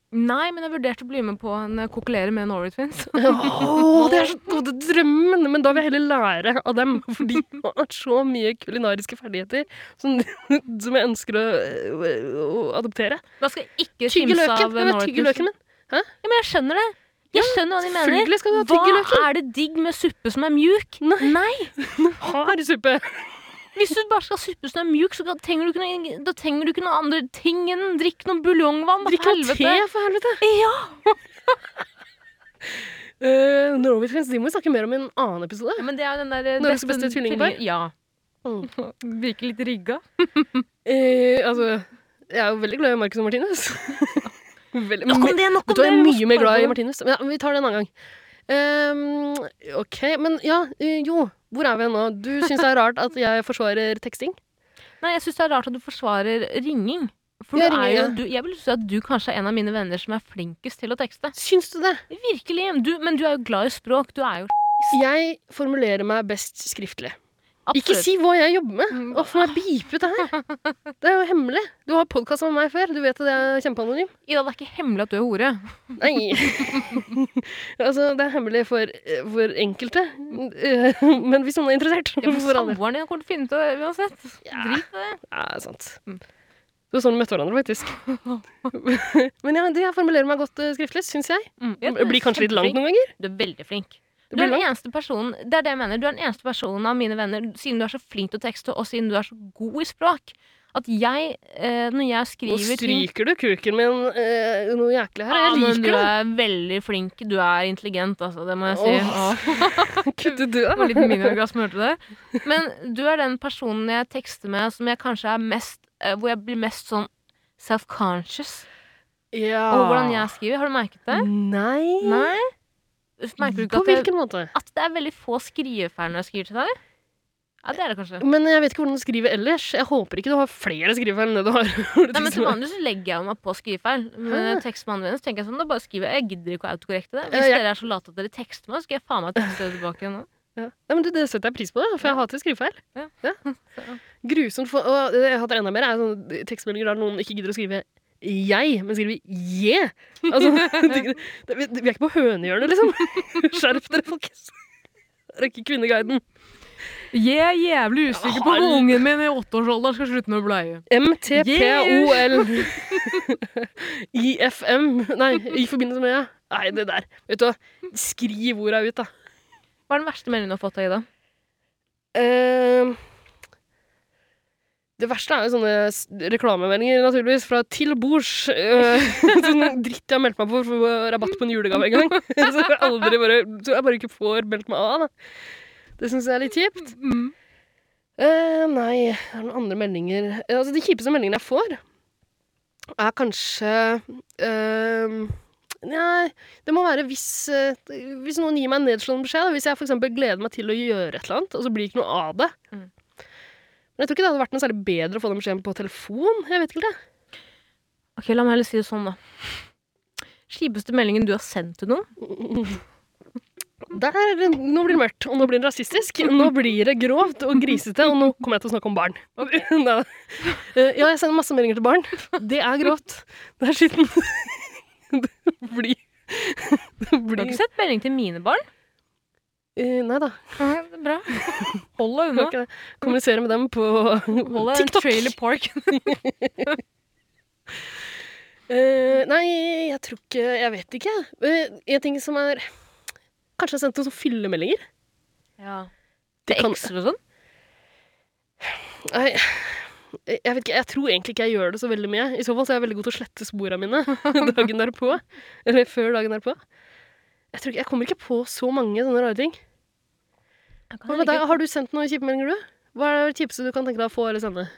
B: Nei, men jeg vurderte å bli med på en eh, kokkelere med Norway Twins.
A: Åh, det er så gode drømmen! Men da vil jeg heller lære av dem, for de har så mye kulinariske ferdigheter som, som jeg ønsker å, å, å adoptere.
B: Da skal jeg ikke
A: Tygge
B: kimse
A: løken!
B: av
A: Nei,
B: Norway Twins.
A: tygge løken min.
B: Ja, men jeg skjønner det. Jeg skjønner hva de mener.
A: Selvfølgelig skal du ha
B: Hva
A: tygge løken!
B: er det digg med suppe som er mjuk?
A: Nei. Hard suppe!
B: Hvis du bare skal ha suppe som er mjuk, så kan- trenger du ikke noe, da trenger du ikke noe andre ting enn drikk noe buljongvann. da,
A: Drikk
B: for
A: noe te,
B: helvete.
A: for helvete!
B: Ja.
A: Uh, Norway Twins, de må vi snakke mer om i en annen episode.
B: ja, men det er jo den der eh,
A: Norges beste tvillingpar.
B: tvilling- Ja. Mm. Virker litt rigga.
A: Eh, altså, jeg er jo veldig glad i Marcus og Martinus. veldig,
B: Nok om det, nok
A: Vet
B: om det.
A: du hva, jeg er
B: vi må
A: mye mer glad i
B: spare på det.
A: Martinus. Men ja, vi tar det en annen gang. Ehm, ok, men ja, eh, jo. Hvor er vi nå? Du syns det er rart at jeg forsvarer teksting?
B: Nei, jeg syns det er rart at du forsvarer ringing. For
A: Ja,
B: du er
A: ringing,
B: jo,
A: ja.
B: du, jeg vil si at du kanskje er en av mine venner som er flinkest til å tekste.
A: Syns du det?
B: Virkelig. Du, men du er jo glad i språk. Du er jo
A: Jeg formulerer meg best skriftlig.
B: absolutt
A: Ikke si hva jeg jobber med!
B: Mm.
A: Å, får jeg beepe ut det her? Det er jo hemmelig. Du har podkast med meg før. Du vet at jeg er kjempeanonym.
B: Ida, det er ikke hemmelig at du er hore.
A: Nei. altså, det er hemmelig for, eh, for enkelte. Eh, Men hvis noen er interessert,
B: Ja, for
A: for alle.
B: Samboeren din kommer til å finne ut av det uansett.
A: Ja.
B: Drit i det.
A: Ja, det er sant.
B: Mm.
A: Det var sånn vi møtte hverandre, faktisk. Men ja, det jeg formulerer meg godt eh, skriftlig, syns jeg.
B: Mm. Ja, du
A: Det
B: er
A: blir kanskje litt langt
B: kjempeflink.
A: noen ganger.
B: Du er veldig flink.
A: Det
B: Du er
A: blir
B: den
A: langt.
B: eneste personen Det er det jeg mener. Du er den eneste personen av mine venner, siden du er så flink til å tekste, og siden du er så god i språk, at jeg, eh, når jeg
A: Nå
B: skriver ting
A: stryker du kuken min eh, noe jæklig her.
B: Ja,
A: Jeg
B: Ah, men du
A: liker det.
B: er veldig flink. Du er intelligent, altså. Det må jeg si.
A: Åh.
B: Åh,
A: Kutt ut
B: det var
A: døra.
B: litt miniorgasme, hørte du det? Men du er den personen jeg tekster med som jeg kanskje er mest eh, Hvor jeg blir mest sånn self-conscious
A: Ja.
B: over hvordan jeg skriver. Har du merket det?
A: Nei.
B: Nei? Merker du ikke
A: På
B: at det,
A: hvilken måte?
B: at det er veldig få skrivefeil når jeg skriver til deg? Ja, det er det kanskje.
A: Men jeg vet ikke hvordan du skriver ellers. Jeg håper ikke du har flere skrivefeil enn det du har. Hvor du
B: Nei, men Til
A: liksom-
B: vanlig så legger jeg jo meg på skrivefeil. Men tekstmannen min så tenker jeg sånn, da bare skriver jeg. Jeg gidder ikke å autokorrekte det. Hvis
A: Eh, jeg-
B: dere er så late at dere tekster meg, så skal jeg faen meg tekste det tilbake igjen nå.
A: Ja. Nei, men du, Det setter jeg pris på, da, for jeg hater skrivefeil.
B: Ja.
A: Ja. Grusomt. For, og det jeg hater enda mer, er sånne tekstmeldinger der noen ikke gidder å skrive 'jeg', men skriver 'je'. Altså, det, det, vi, vi er ikke på hønehjørnet, liksom. Skjerp dere, folkens. Rekker Kvinneguiden.
B: Jeg er jævlig
A: usikker på om ungen
B: min i åtteårsalderen skal slutte med bleie.
A: MTPOL. IFM. Nei, i forbindelse med ja. Nei, det der. Vet du hva, skriv orda ut, da.
B: Hva er den verste meldingen du har fått av Ida?
A: Eh, det verste er jo sånne s- reklamemeldinger, naturligvis, fra Til bords. eh, sånn dritt jeg har meldt meg på for å få rabatt på en julegave en gang. så, jeg aldri bare, så jeg bare ikke får meldt meg av. Da. Det syns jeg er litt kjipt. Eh, nei, det er noen andre meldinger Eh, Altså, De kjipeste meldingene jeg får, er kanskje eh, Nei, det må være hvis, eh, hvis noen gir meg en nedslående beskjed. Da. Hvis jeg for eksempel gleder meg til å gjøre et eller annet, og så blir det ikke noe av det.
B: Mm.
A: Men jeg tror ikke det hadde vært noe særlig bedre å få den beskjeden på telefon. Jeg vet ikke det.
B: Ok, La meg heller si det sånn, da. Kjipeste meldingen du har sendt til noen?
A: Der, nå blir det mørkt, og nå blir det rasistisk. Nå blir det grovt og grisete, og nå kommer jeg til å snakke om barn. Neida. Eh, ja, jeg sender masse meldinger til barn. Det er grovt. Det er skitten. Det blir Det
B: Du har
A: blir
B: ikke sett melding til mine barn?
A: Eh, Nei da.
B: Bra. Hold deg
A: det var
B: unna.
A: ikke det. Kommunisere med dem på
B: Hold deg i en
A: TikTok.
B: trailer park.
A: Eh, nei, jeg tror ikke Jeg vet ikke. Uh, en ting som er Kanskje jeg har sendt noen sånne fyllemeldinger?
B: Ja.
A: Det
B: Til
A: kan-
B: ekser og sånn?
A: Nei, jeg vet ikke, jeg tror egentlig ikke jeg gjør det så veldig mye. I så fall så er jeg veldig god til å slette sporene mine dagen derpå. Eller før dagen derpå. Jeg, tror ikke, jeg kommer ikke på så mange sånne rare ting. Hva med deg? Har du sendt noen kjipe meldinger, du? Hva er det kjipeste du kan tenke deg å få eller sende?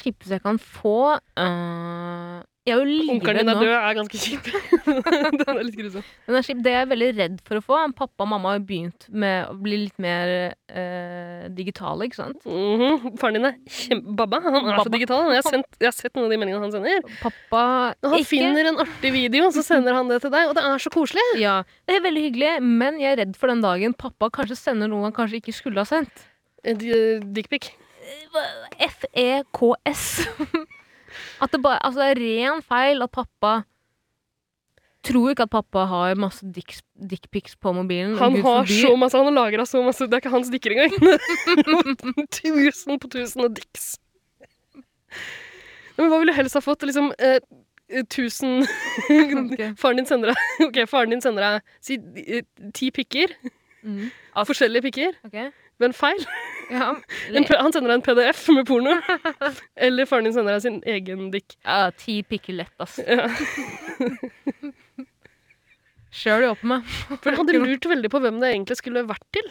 B: Kjipeste jeg kan få øh, Jeg er jo
A: Onkelen
B: livredd
A: din er
B: nå.
A: død er ganske kjip. Den er litt grusom.
B: Men det er kjipt. Det jeg er veldig redd for å få Pappa og mamma har begynt med å bli litt mer øh, digitale, ikke sant?
A: Mhm, Faren din er kjempebabba. Han er
B: Babba.
A: så digital. han. Jeg har, sendt, jeg har sett noen av de meldingene han sender.
B: Pappa
A: Når han
B: ikke
A: finner en artig video, så sender han det til deg, og det er så koselig.
B: Ja, Det er veldig hyggelig, men jeg er redd for den dagen pappa kanskje sender noe han kanskje ikke skulle ha sendt.
A: Eh, Dickpic. E
B: F-E-K-S. At det bare Altså, det er ren feil at pappa Tror ikke at pappa har masse dicks- dickpics på mobilen.
A: Han
B: Gud
A: har
B: forby.
A: så masse, han har lagra så masse Det er ikke hans dikker engang. tusen på tusen av dicks. Nei, Men hva ville du helst ha fått? Liksom eh, eh, tusen
B: Ok.
A: Faren din sender deg Ok, faren din sender deg si, eh, ti pikker.
B: Mm.
A: Forskjellige pikker,
B: ok.
A: men feil.
B: Ja,
A: En, p- han sender deg en PDF med porno. Eller faren din sender deg sin egen dick.
B: ja, ti pikker lett, ass.
A: Ja.
B: Skjør det opp med.
A: For jeg hadde lurt veldig på hvem det egentlig skulle vært til.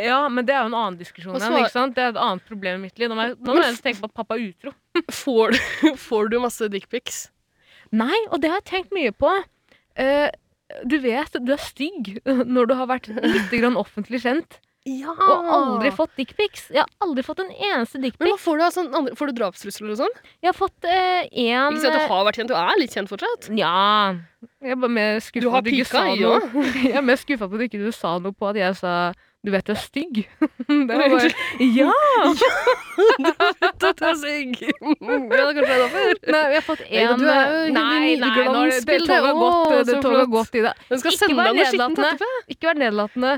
B: Ja, men det er jo en annen diskusjon.
A: Og
B: igjen,
A: svar-
B: ikke sant? Det er et annet problem i mitt liv. Nå må jeg, nå må jeg tenke på at pappa er utro.
A: Får du, får du masse dickpics?
B: Nei, og det har jeg tenkt mye på. Eh, du vet, du er stygg når du har vært litt grann offentlig kjent
A: Ja.
B: og aldri fått dickpics. Jeg har aldri fått en eneste
A: Men
B: dickpic.
A: hva får du av sånn andre Får du drapstrusler og sånn?
B: Jeg har fått eh, en
A: Ikke si at du har vært kjent, du er litt kjent fortsatt.
B: Nja Jeg er bare mer
A: Du
B: skuffa
A: har
B: at du ikke
A: pika,
B: sa
A: ja.
B: noe. Jeg er mer skuffa på at ikke du sa noe på at jeg sa du vet du er stygg. Det var bare, ja!
A: Tatt av seg. Mm, Ja, det er kanskje derfor.
B: Nei, jeg har fått
A: Nei,
B: en eh,
A: du er jo
B: Nei, nei, nå er det, det
A: nydeliglansbilde.
B: toget har gått.
A: Å,
B: Det
A: så
B: toget har
A: flott.
B: gått i det.
A: Hun skal
B: Ikke
A: sende
B: vær
A: deg noe skittent
B: nedlatende.
A: etterpå.
B: Ikke vær nedlatende.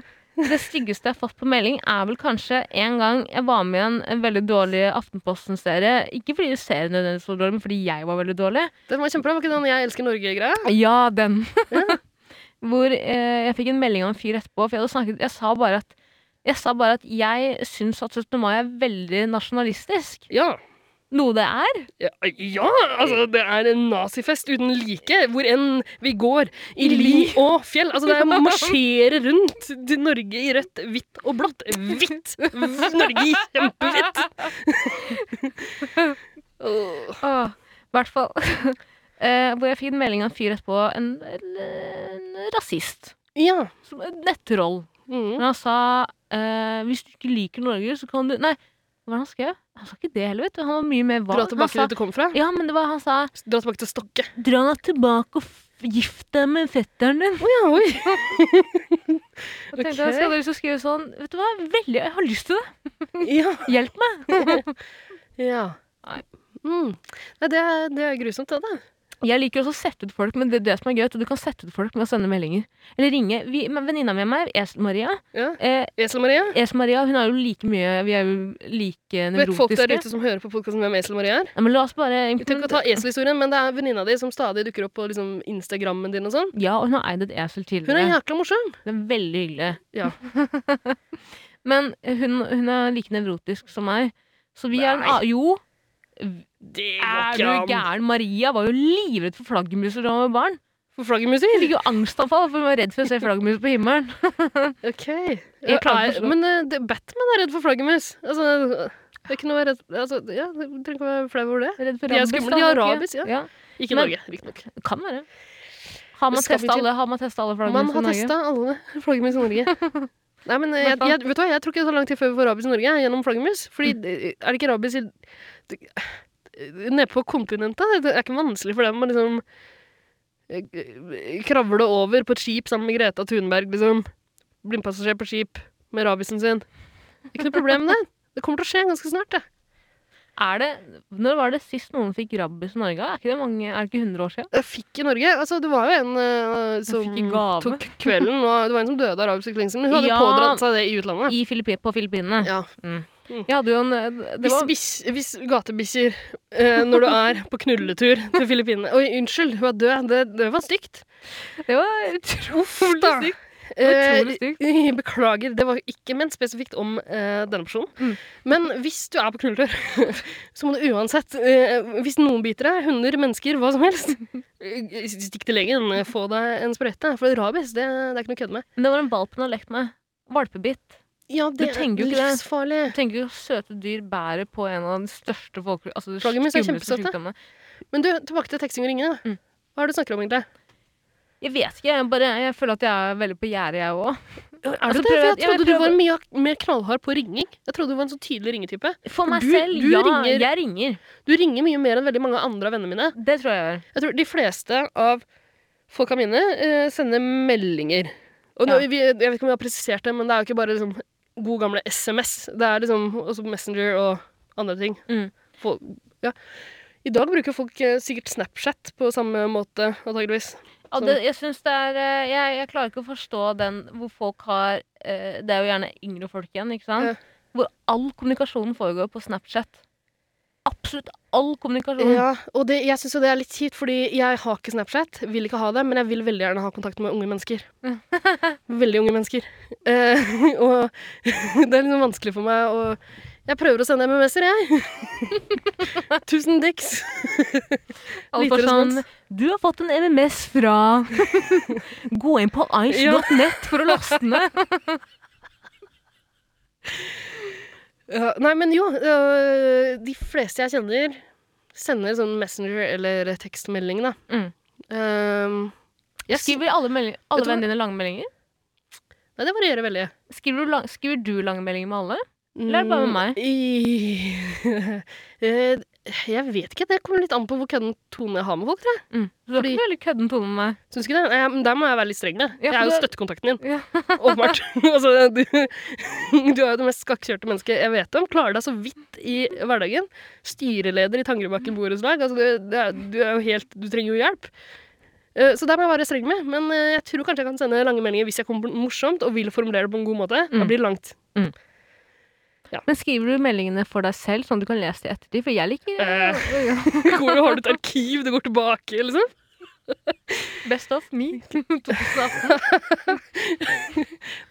B: Det styggeste jeg har fått på melding, er vel kanskje en gang jeg var med i en- en veldig dårlig Aftenposten-serie. Ikke fordi serien nødvendigvis var dårlig, men fordi jeg var veldig dårlig.
A: Den var kjempebra. Var ikke den Jeg elsker Norge-greia?
B: Ja, den. Hvor eh, jeg fikk en melding av en fyr etterpå, for jeg hadde snakket Jeg sa bare at jeg sa bare at jeg syns at 17. mai er veldig nasjonalistisk.
A: Ja.
B: Noe det er.
A: ja. Ja, altså, det er en nazifest uten like, hvor enn vi går. I li og fjell. Altså, det er å marsjere rundt til Norge i rødt, hvitt og blått. Hvitt! Norge i kjempehvitt! Åh.
B: Åh, I hvert fall. eh, hvor jeg fikk en melding av en fyr etterpå, en, en, en rasist.
A: Ja.
B: Som en nettroll.
A: Mm.
B: Men han sa eh, hvis du ikke liker Norge, så kan du Nei, hva var det han skrev? Han sa ikke det heller, vet du. Han var mye mer
A: Dra
B: varm. Han
A: tilbake
B: sa,
A: dit du kom fra.
B: ja, men det var han sa
A: Dra tilbake til Stokke.
B: Dra deg tilbake og f- gift deg med fetteren din.
A: Å ja, oi.
B: Og tenkte jeg,
A: Ok.
B: skal dere så skrive sånn Vet du hva, veldig, jeg har lyst til det.
A: Ja.
B: Hjelp meg.
A: ja.
B: Nei.
A: Mm. Nei, det er, det er grusomt, det. da.
B: Jeg liker også å sette ut folk, men det, det som er gøy, er at du kan sette ut folk med å sende meldinger. Eller ringe. Vi, men Venninna mi og meg, Esel-Maria
A: Ja.
B: eh,
A: Esel-Maria.
B: Esel-Maria, hun er jo like mye Vi er jo like
A: Vet folk der
B: nevrotiske.
A: ute som hører på podkasten hvem Esel-Maria er?
B: Nei, men la oss bare
A: Vi trenger ikke å ta eselhistorien, men det er venninna di som stadig dukker opp på liksom, Instagrammen din og sånn.
B: Ja, og hun har eid et esel
A: Hun er
B: tidligere.
A: jækla morsom.
B: Det er veldig hyggelig.
A: Ja.
B: men hun, hun er like nevrotisk som meg. Så vi er en a-
A: Nei.
B: Jo,
A: Det
B: er du gæren? Maria var jo livredd for flaggermuser da hun var barn.
A: For flaggermuser?
B: Hun fikk jo angstanfall, for hun var redd for å se flaggermus på himmelen.
A: Ok.
B: Jeg klarer ikke å
A: Er-
B: forstå.
A: men eh, det, Batman er redd for flaggermus. Altså, det er ikke noe å være redd altså, ja, Du trenger ikke å være flau over det.
B: Redd for
A: De er
B: rabies,
A: skumle,
B: da,
A: de har
B: Norge.
A: rabies, ja.
B: ja.
A: Ikke i
B: Men-
A: Norge, riktignok.
B: Det Kan være. Har man
A: Skal vi
B: testa
A: til-
B: alle, har man testet alle
A: Man
B: flaggermus i
A: har
B: Norge?
A: testa alle flaggermus i Norge. Nei, men eh, jeg, jeg, vet du hva, jeg tror ikke det tar lang tid før vi får rabies i Norge gjennom flaggermus. Fordi
B: Mm.
A: eh, er det ikke rabies i Nede på kontinentet? Det er ikke vanskelig for dem å liksom eh, kravle over på et skip sammen med Greta Thunberg, liksom. Blindpassasjer på skip med rabisen sin. Ikke noe problem med det. Det kommer til å skje ganske snart, det.
B: Er det, når var det sist noen fikk rabies i Norge? Er ikke det mange, er det ikke 100 år siden?
A: Jeg fikk i Norge. Altså, det var jo en eh, som
B: fikk i gave.
A: tok kvelden, og det var en som døde av rabies i Klingsel. men Hun hadde
B: Ja.
A: pådratt seg det i utlandet.
B: I Filippi, på Filippinene.
A: Ja,
B: Mm.
A: Mm.
B: Jeg hadde jo en eh, det
A: Hvis,
B: var,
A: bikkj- hvis gatebikkjer eh, når du er på knulletur til Filippinene Oi, unnskyld, hun er død. Det, det var stygt.
B: det var utrolig
A: da.
B: stygt.
A: Eh,
B: Utrolig stygt.
A: beklager, det var ikke ment spesifikt om eh, denne personen.
B: Mm.
A: Men hvis du er på knulletur, så må du uansett eh, Hvis noen biter deg, hunder, mennesker, hva som helst, eh, stikk til legen. eh, Få deg en sprøyte. For rabies, det, det er ikke noe å kødde med.
B: Men Det var en valp hun har lekt med. Valpebitt.
A: Ja,
B: det
A: det
B: er
A: er livsfarlig.
B: Jeg tenker jo søte dyr bærer på en av de største folk... Altså de
A: Flaggermus er
B: skumleste
A: kjempesøte.
B: sykdommene.
A: Men du, tilbake til teksting og ringing. da.
B: Mm.
A: Hva er det du snakker om, egentlig?
B: Jeg vet ikke, jeg, bare, jeg føler at jeg er veldig på gjerdet, jeg òg.
A: Er det
B: Altså,
A: det?
B: prøv-
A: For jeg
B: ja, men
A: trodde du
B: prøv-
A: var mye ak- mer knallhard på ringing. Jeg trodde du var en sånn tydelig ringetype.
B: For meg
A: du-
B: selv,
A: du
B: ja.
A: ringer-
B: Jeg ringer.
A: Du ringer mye mer enn veldig mange andre av vennene mine.
B: Det tror jeg jeg gjør.
A: Jeg tror de fleste av folka mine eh, sender meldinger. Og nå,
B: Ja.
A: vi, jeg vet ikke om jeg har presisert det, men det er jo ikke bare liksom, god gamle SMS. Det er liksom også Messenger og andre ting.
B: Mm.
A: Folk, ja. I dag bruker folk eh, sikkert Snapchat på samme måte, antageligvis.
B: Ja,
A: Sånn.
B: det, jeg synes det er eh, jeg, jeg klarer ikke å forstå den hvor folk har eh, Det er jo gjerne yngre folk igjen, ikke sant?
A: Ja.
B: Hvor all kommunikasjon foregår på Snapchat. Absolutt all kommunikasjon.
A: Ja, og det, jeg syns jo det er litt kjipt, fordi jeg har ikke Snapchat. Vil ikke ha det, men jeg vil veldig gjerne ha kontakt med unge mennesker. Veldig unge mennesker. Eh, og det er liksom vanskelig for meg å Jeg prøver å sende MMS-er, jeg. Tusen dicks.
B: Alt
A: lite
B: er sånn
A: respons.
B: Du har fått en MMS fra Gå inn på
A: Ja.
B: ice.net for å laste ned.
A: Ja, nei, men jo. øh, de fleste jeg kjenner, sender sånn Messenger eller tekstmelding, da.
B: Mm.
A: Ehm, jeg sy-
B: Skriver alle, melding- alle
A: Vet du hva?
B: vennene dine lange meldinger?
A: Nei, det varierer veldig.
B: Skriver du, lang, skriver du lange meldinger med alle? Eller er det bare med meg?
A: Mm, I, Eh, jeg vet ikke. Det kommer litt an på hvor kødden tone jeg har med folk. tror jeg.
B: Mm. Så du har
A: Fordi-
B: ikke noe veldig kødden tone med meg?
A: Syns du ikke det? Eh, men der må jeg være litt streng. da.
B: Ja,
A: Jeg
B: for
A: er jo
B: det-
A: støttekontakten din.
B: Ja.
A: Åpenbart. altså, du, du er jo det mest skakkjørte mennesket jeg vet om. Klarer deg så vidt i hverdagen. Styreleder i Tangerudbakken borettslag. Altså, det- det er- du er jo helt Du trenger jo hjelp. Eh, Så der må jeg være streng med, men eh, jeg tror kanskje jeg kan sende lange meldinger hvis jeg kommer på noe morsomt og vil formulere det på en god måte. Da
B: Mm.
A: blir det langt.
B: Men skriver du meldingene for deg selv, sånn du kan lese det i ettertid? For jeg liker
A: Eh. Hvor har du et arkiv du går tilbake, liksom?
B: Best of me. 2018.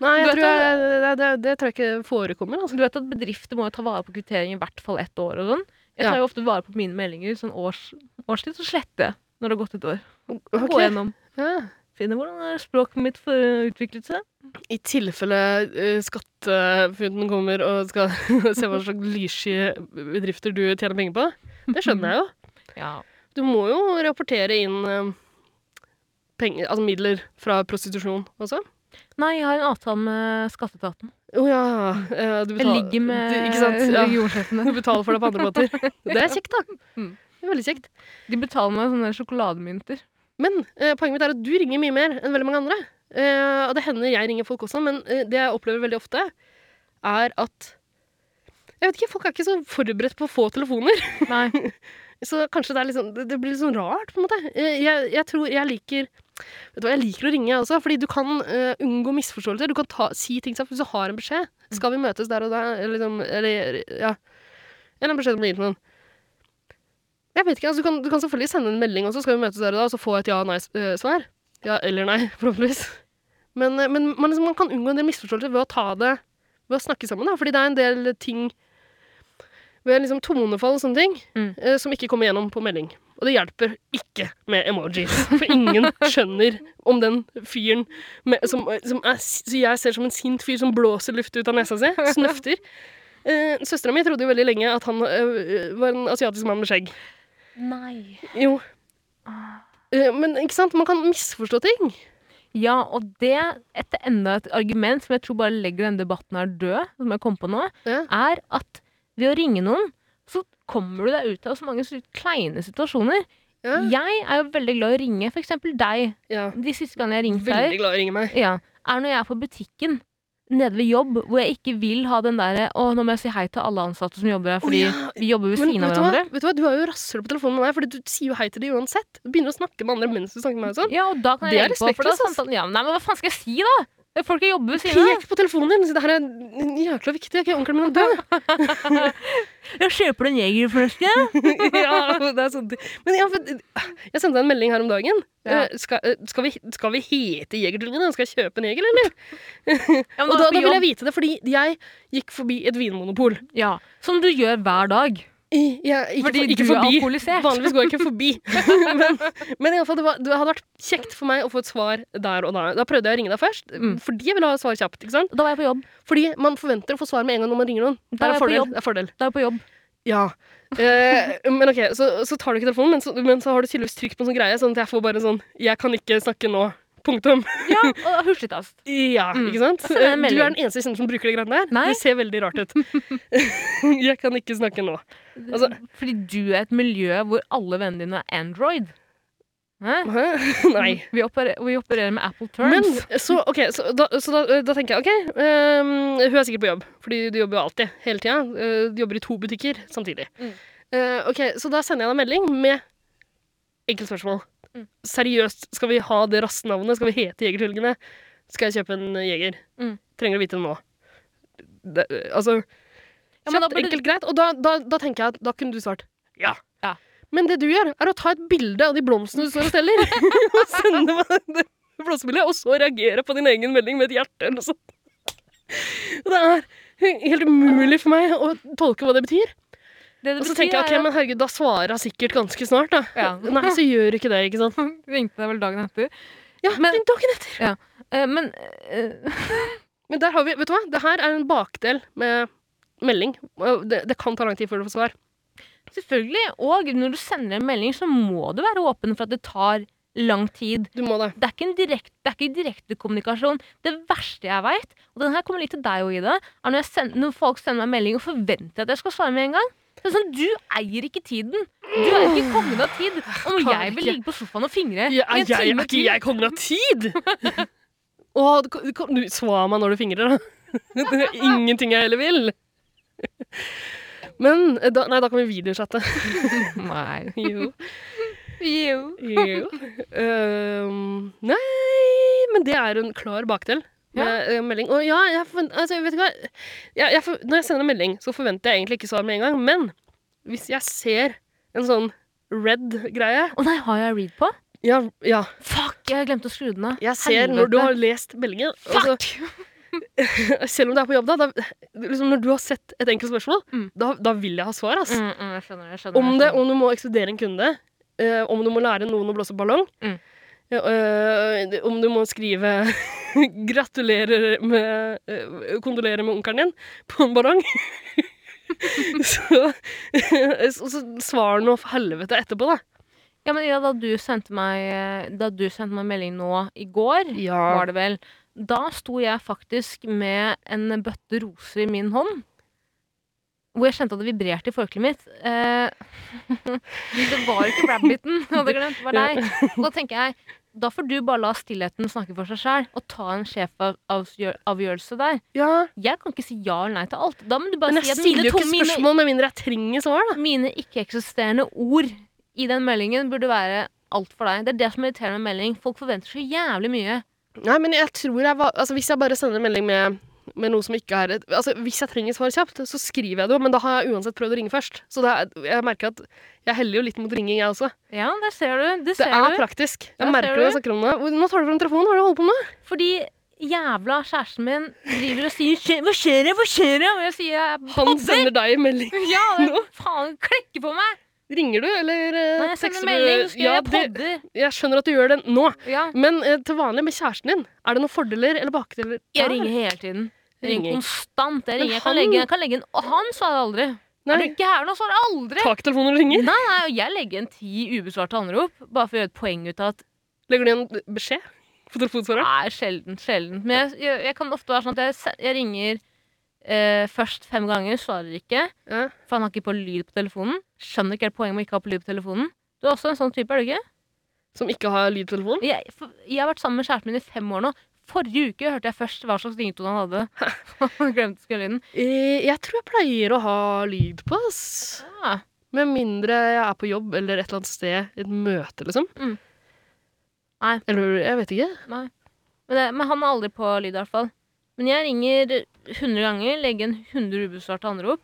A: Nei,
B: Du
A: jeg
B: vet
A: tror jeg, det, det, det tror jeg ikke forekommer. Altså.
B: Du vet at Bedrifter må jo ta vare på kvittering i hvert fall ett år. og sånn. Jeg tar
A: Ja.
B: jo ofte vare på mine meldinger sånn års, årstid, så sletter jeg når det har gått et år.
A: Ok.
B: Gå gjennom.
A: Ja.
B: Finne hvordan er språket mitt for utviklet seg.
A: I tilfelle uh, skattefunden kommer og skal se hva slags lyssky bedrifter du tjener penger på. Det skjønner jeg jo.
B: Ja.
A: Du må jo rapportere inn eh, penger, altså midler fra prostitusjon også.
B: Nei, jeg har en avtale med skatteetaten.
A: Å ja. eh, Du
B: Jeg
A: betaler-
B: ligger med
A: du, Ikke sant? Ja.
B: regionsjefen
A: Du
B: der.
A: betaler for det på andre måter. Det er kjekt, da.
B: Mm.
A: Det er veldig kjekt.
B: De betaler meg sånne sjokolademynter.
A: Men eh, poenget mitt er at du ringer mye mer enn veldig mange andre. Eh, og det hender jeg ringer folk også, men eh, det jeg opplever veldig ofte, er at Jeg vet ikke, folk er ikke så forberedt på å få telefoner.
B: Nei.
A: Så kanskje det, er litt sånn- det, det blir litt sånn rart, på en måte. Eh, jeg, jeg tror jeg liker Vet du hva, jeg liker å ringe, jeg også, fordi du kan eh, unngå misforståelser. Du kan ta, si ting sammen hvis du har en beskjed. Skal vi møtes der og da? Eller, liksom, eller ja. En eller annen beskjed som blir gitt noen. Jeg vet ikke, altså, du, kan, du kan selvfølgelig sende en melding også, skal vi møtes der og da, og så få et ja-nei-svar. Ja eller nei, forhåpentligvis. Men, eh, men man, liksom, man kan unngå en del misforståelser ved å ta det ved å snakke sammen, da. Fordi det er en del ting ved liksom tonefall og sånne ting
B: Mm.
A: eh, som ikke kommer gjennom på melding. Og det hjelper ikke med emojis. For ingen skjønner om den fyren med, som, som er, som jeg ser som en sint fyr som blåser luft ut av nesa si, snøfter. Eh, Søstera mi trodde jo veldig lenge at han eh, var en asiatisk mann med skjegg.
B: Nei.
A: Jo. Eh, men ikke sant? man kan misforstå ting.
B: Ja, og det, etter enda et argument som jeg tror bare legger denne debatten her død, som jeg kom på nå,
A: Ja.
B: er at ved å ringe noen, så kommer du deg ut av så mange så kleine situasjoner.
A: Ja.
B: Jeg er jo veldig glad i å ringe f.eks. deg.
A: ja.
B: De siste gangene jeg ringte deg,
A: Veldig glad i å ringe meg.
B: ja, er når jeg er på butikken nede ved jobb, hvor jeg ikke vil ha den derre Å, nå må jeg si hei til alle ansatte som jobber her, fordi
A: Å, ja.
B: vi jobber ved
A: Men
B: siden av
A: vet du, hva?
B: hverandre.
A: vet du hva, du er jo rasshøl på telefonen med meg, Fordi du sier jo hei til dem uansett. Du begynner å snakke med andre mens du snakker med meg. og sånn.
B: Ja, og da kan jeg
A: Det er
B: legge på, for da er
A: respektløst, ass.
B: samtalen ja, men Nei, men hva faen skal jeg si, da? Folk jeg jobber ved siden av.
A: Pek på telefonen din! Det her er n- jækla viktig. Jeg er ikke onkelen min er død.
B: Jeg kjøper en Jeger forresten.
A: ja, det er sånn. Men ja, for, jeg sendte deg en melding her om dagen.
B: Ja.
A: Eh, Skal, eh, skal, vi, skal vi hete Jegertvillingene? Skal jeg kjøpe en jeger, eller?
B: Ja, men
A: Og
B: da er
A: da, da
B: det på
A: ville jeg
B: jobb.
A: vite det, fordi jeg gikk forbi et vinmonopol.
B: Ja, som du gjør hver dag.
A: I- Jeg, ikke,
B: Fordi
A: for- ikke
B: du er
A: forbi.
B: alkoholisert.
A: Vanligvis går jeg ikke forbi. men men i alle fall, det, var, det hadde vært kjekt for meg å få et svar der og da. Da prøvde jeg å ringe deg først,
B: Mm.
A: fordi jeg ville ha et svar kjapt. ikke sant?
B: Da var jeg på jobb.
A: Fordi man forventer å få svar med en gang når man ringer noen. Det
B: Da
A: er,
B: er jeg
A: en
B: på
A: fordel.
B: jobb.
A: Det er fordel.
B: Da er jeg på jobb.
A: Ja. Eh, men ok, så, så tar du ikke telefonen, men så, men så har du tydeligvis trykt på en sånn greie, sånn at jeg får bare en sånn 'Jeg kan ikke snakke nå.' Punktum.
B: Ja, og hurtigtast.
A: Ja,
B: Mm.
A: ikke sant?
B: sender jeg en
A: Eh, Du er
B: melding.
A: den eneste jeg kjenner som bruker de greiene der.
B: Nei.
A: Det ser veldig rart ut. 'Jeg kan ikke snakke nå'. Altså,
B: Fordi du er et miljø hvor alle vennene dine er Android. Hæ?
A: hæ? Nei.
B: Vi opererer, vi opererer med Apple
A: Men
B: Terms.
A: så, ok, så, da, så da, da tenker jeg OK, ehm, hun er sikkert på jobb, fordi du jobber jo alltid, hele tida. Eh, du jobber i to butikker samtidig.
B: Mm.
A: Eh, ok, Så da sender jeg deg en melding med enkelt spørsmål.
B: Mm.
A: Seriøst, skal vi ha det rassnavnet? Skal vi hete Jegertvillingene? Skal jeg kjøpe en jeger?
B: Mm.
A: Trenger å vite det nå. Det, altså
B: Ja, men da
A: Kjapt,
B: burde-
A: enkelt, greit. Og da, da, da tenker jeg at da kunne du svart ja.
B: Ja.
A: Men det du gjør, er å ta et bilde av de blomstene du står og steller, og sende meg det blomsterbildet, og så reagere på din egen melding med et hjerte eller noe sånt. Og Det er helt umulig for meg å tolke hva det betyr.
B: Det det
A: Og så
B: betyr
A: tenker jeg
B: er
A: ok, men herregud, da svarer hun sikkert ganske snart, da.
B: Ja.
A: Nei, så gjør ikke det, ikke sant.
B: at- Ringte deg vel dagen etter.
A: Ja,
B: Men-
A: men, dagen etter.
B: Eh, men eh,
A: Men der har vi, vet du hva, det her er en bakdel med melding. Og Det, det kan ta lang tid før du får svar.
B: selvfølgelig. Og når du sender en melding, så må du være åpen for at det tar lang tid.
A: Du må det.
B: Det er ikke en direkte, det er ikke direktekommunikasjon. Det verste jeg veit, og den her kommer litt til deg òg, Ida, er når, jeg send, når folk sender meg melding og forventer at jeg skal svare med en gang. Det er sånn, Du eier ikke tiden. Du er ikke kongen av tid. Om
A: kan
B: jeg vil
A: ikke.
B: ligge på sofaen og fingre
A: Ja,
B: i en
A: jeg, er
B: time
A: ikke
B: til
A: jeg kongen av tid! Å, du, kom- du, kom- du svar meg når du fingrer, da. Det er ingenting jeg heller vil. Men eh, da, Nei, da kan vi videochatte.
B: Nei.
A: Jo.
B: Jo.
A: jo. Ehm, nei, men det er en klar bakdel. Med eh, melding. Og ja, jeg forvent, altså, vet du hva? Jeg, jeg for, når jeg sender en melding, så forventer jeg egentlig ikke svar med en gang. Men hvis jeg ser en sånn red greie
B: Å nei, har jeg read på?
A: Ja, ja
B: Fuck, jeg glemte å skru den av.
A: jeg ser når du har altså- lest meldingen og så-
B: Fuck!
A: selv om det er på jobb, da, da liksom når du har sett et enkelt spørsmål,
B: Mm.
A: da, da vil jeg ha svar. Ass.
B: Mm, mm, jeg skjønner, jeg skjønner.
A: Om,
B: jeg
A: det,
B: skjønner.
A: om du må ekskludere en kunde, eh, om du må lære noen å blåse opp ballong,
B: Mm.
A: ja, eh, om du må skrive 'gratulerer med eh, Kondolerer med onkelen din' på en ballong. så, så, så svar nå for helvete etterpå, da.
B: eh, Ja, men Ida, da du sendte meg, da du sendte meg melding nå i går, var det vel, Da sto jeg faktisk med en bøtte roser i min hånd. Hvor jeg kjente at det vibrerte i forkleet mitt. Eh, det var ikke rabbiten, jeg hadde glemt. Det var deg. Og da tenker jeg, da får du bare la stillheten snakke for seg sjæl, og ta en sjefavgjørelse der.
A: Ja,
B: Jeg kan ikke si ja eller nei til alt. Da må du bare
A: Men
B: si
A: jeg
B: at mine,
A: stiller jo
B: to,
A: ikke
B: mine,
A: spørsmål med mindre jeg trenger svar, da.
B: mine ikke-eksisterende ord i den meldingen burde være alt for deg. Det er det som irriterer meg med melding. Folk forventer så jævlig mye.
A: Nei, men jeg tror jeg var Altså, hvis jeg bare sender en melding med med noe som ikke er et, altså Hvis jeg trenger svar kjapt, så skriver jeg det jo, men da har jeg uansett prøvd å ringe først. Så det er, jeg merker at jeg heller jo litt mot ringing, jeg også.
B: Ja, der ser du. Det
A: Det
B: ser
A: er
B: du.
A: praktisk.
B: Der
A: Jeg merker
B: ser
A: det når
B: du.
A: jeg snakker om det. Hvor- Nå tar du fram telefonen, hva er det du holder på med?
B: Fordi jævla kjæresten min driver og sier «Skje- 'hva skjer', det? 'hva skjer', det?» og jeg sier jeg er
A: Han
B: popper.
A: sender deg en melding.
B: Ja, det faen klikker på meg!
A: Ringer du, eller eh,
B: Når jeg sender
A: tekster
B: melding, så
A: du?
B: skriver
A: Ja,
B: jeg
A: det,
B: 'podder'.
A: jeg skjønner at du gjør det nå.
B: Ja.
A: Men eh, til vanlig med kjæresten din, er det noen fordeler eller bakdeler?
B: Jeg ringer hele tiden. Jeg ringer
A: Ringer.
B: konstant. Jeg,
A: Men
B: ringer. Jeg, kan
A: han-
B: legge, jeg kan legge en Og han svarer aldri! Er du
A: Nei,
B: gæren? Han svarer aldri!
A: tak telefonen og ringer.
B: Nei, nei, og jeg legger en ti ubesvarte anrop, bare for å gjøre et poeng ut av at
A: Legger du igjen beskjed på telefonsvareren?
B: Nei, sjelden, sjelden. Men jeg, jeg, jeg kan ofte være sånn at jeg, se- jeg ringer eh, først fem ganger, svarer ikke.
A: Ja.
B: For han har ikke på lyd på telefonen. Skjønner ikke helt poenget med ikke å ha på lyd på telefonen. Du er også en sånn type, er du ikke?
A: Som ikke har lyd på telefonen?
B: Jeg, for, jeg har vært sammen med kjæresten min i fem år nå. Forrige uke hørte jeg først hva slags ringetone han hadde. Han glemte å skru inn.
A: Eh, Jeg tror jeg pleier å ha lyd på, ass.
B: Ja.
A: Med mindre jeg er på jobb eller et eller annet sted, et møte, liksom.
B: Mm. Nei.
A: Eller jeg vet ikke.
B: Men, det, men han er aldri på lyd, i hvert fall. Men jeg ringer 100 ganger, legger en 100 ubesvarte anrop.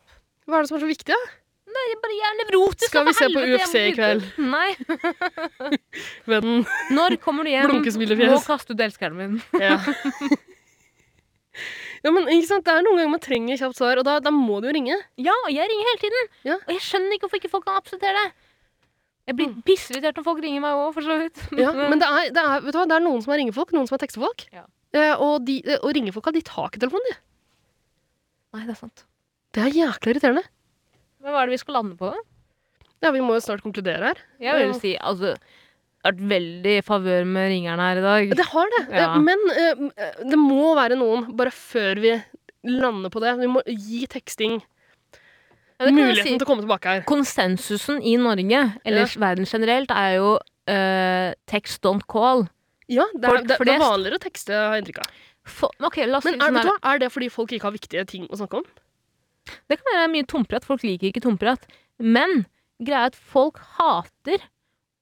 A: Hva er det som er så viktig, da?
B: Jeg bare, jeg er nevrotisk!
A: Skal vi
B: for
A: se på
B: helvete, jeg
A: UFC i
B: må
A: kveld?
B: vite- Nei.
A: Vennen.
B: Når kommer du hjem?
A: Blunkesmilefjes.
B: Nå kaster du elskeren min.
A: Ja. ja, men ikke sant? Det er noen ganger man trenger kjapt svar, og da, da må du jo ringe.
B: Ja, og jeg ringer hele tiden.
A: Ja.
B: Og jeg skjønner ikke hvorfor ikke folk kan akseptere det. Jeg blir
A: Mm.
B: pissirritert når folk ringer meg òg, for så vidt.
A: Ja, men det er, det, er, vet du hva, det er noen som er ringefolk, noen som er tekstefolk.
B: Ja.
A: Eh, og, de, eh, og ringefolka, de tar ikke telefonen, de.
B: eh, Nei, det er sant.
A: Det er jækla irriterende.
B: Men hva er det vi skal lande på, da?
A: Ja, vi må jo snart konkludere her.
B: Jeg vil si, altså det har vært veldig i favør med ringerne her i dag.
A: Det har det, eh,
B: Ja.
A: men eh, det må være noen, bare før vi lander på det. Vi må gi teksting
B: Ja, det kan jeg
A: muligheten
B: si.
A: til å komme tilbake her.
B: Konsensusen i Norge, eller verden generelt, er jo eh, text don't call.
A: Ja, det er,
B: Folk
A: det, det
B: flest.
A: er vanligere å tekste, har jeg inntrykk av.
B: For, ok, la oss si det
A: Men er,
B: sånn
A: vet du
B: her.
A: hva, er det fordi folk ikke har viktige ting å snakke om?
B: Det kan være mye tomprat. Folk liker ikke tomprat. Men greia er at folk hater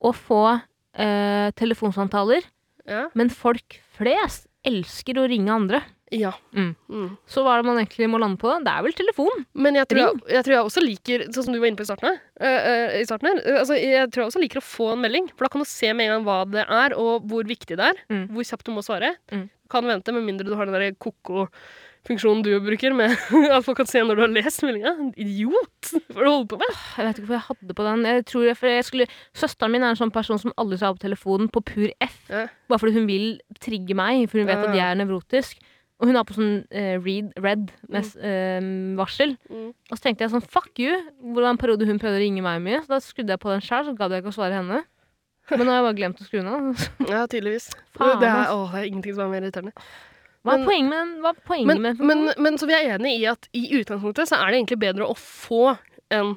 B: å få eh, telefonsamtaler.
A: Ja.
B: Men folk flest elsker å ringe andre.
A: ja.
B: Mm.
A: Mm.
B: Så hva er det man egentlig må lande på? Det er vel telefon.
A: Men jeg tror jeg, jeg tror jeg også liker Sånn som du var inne på i starten her, eh, eh, i starten her eh, altså, Jeg tror jeg også liker å få en melding For da kan du se med en gang hva det er Og hvor viktig det er
B: Mm.
A: Hvor kjapt du må svare
B: Mm.
A: Du Kan vente med mindre du har den der koko-funksjonen du bruker Med at folk kan se når du har lest meldingen Idiot! Hva er det du holder på med?
B: Jeg vet ikke hvorfor jeg hadde på den. Jeg tror jeg, for jeg skulle, søsteren min er en sånn person som aldri tar opp telefonen på pur F.
A: Ja.
B: Bare fordi hun vil trigge meg, for hun vet at jeg
A: Ja.
B: er nevrotisk. Og hun har på sånn eh, read, red med, s- eh, varsel.
A: Mm.
B: Og så tenkte jeg sånn fuck you, hvor det var en periode hun prøvde å ringe meg mye. Så da skrudde jeg på den sjøl, så gadd jeg ikke å svare henne. Men nå har jeg bare glemt å skru den av.
A: Ja, tydeligvis
B: Faen,
A: det, er,
B: ass.
A: åh, det er ingenting som er mer irriterende
B: Hva er
A: Men-
B: poenget med den? Hva er poenget
A: men,
B: med den?
A: men, men så vi er enige i at i utgangspunktet så er det egentlig bedre å få en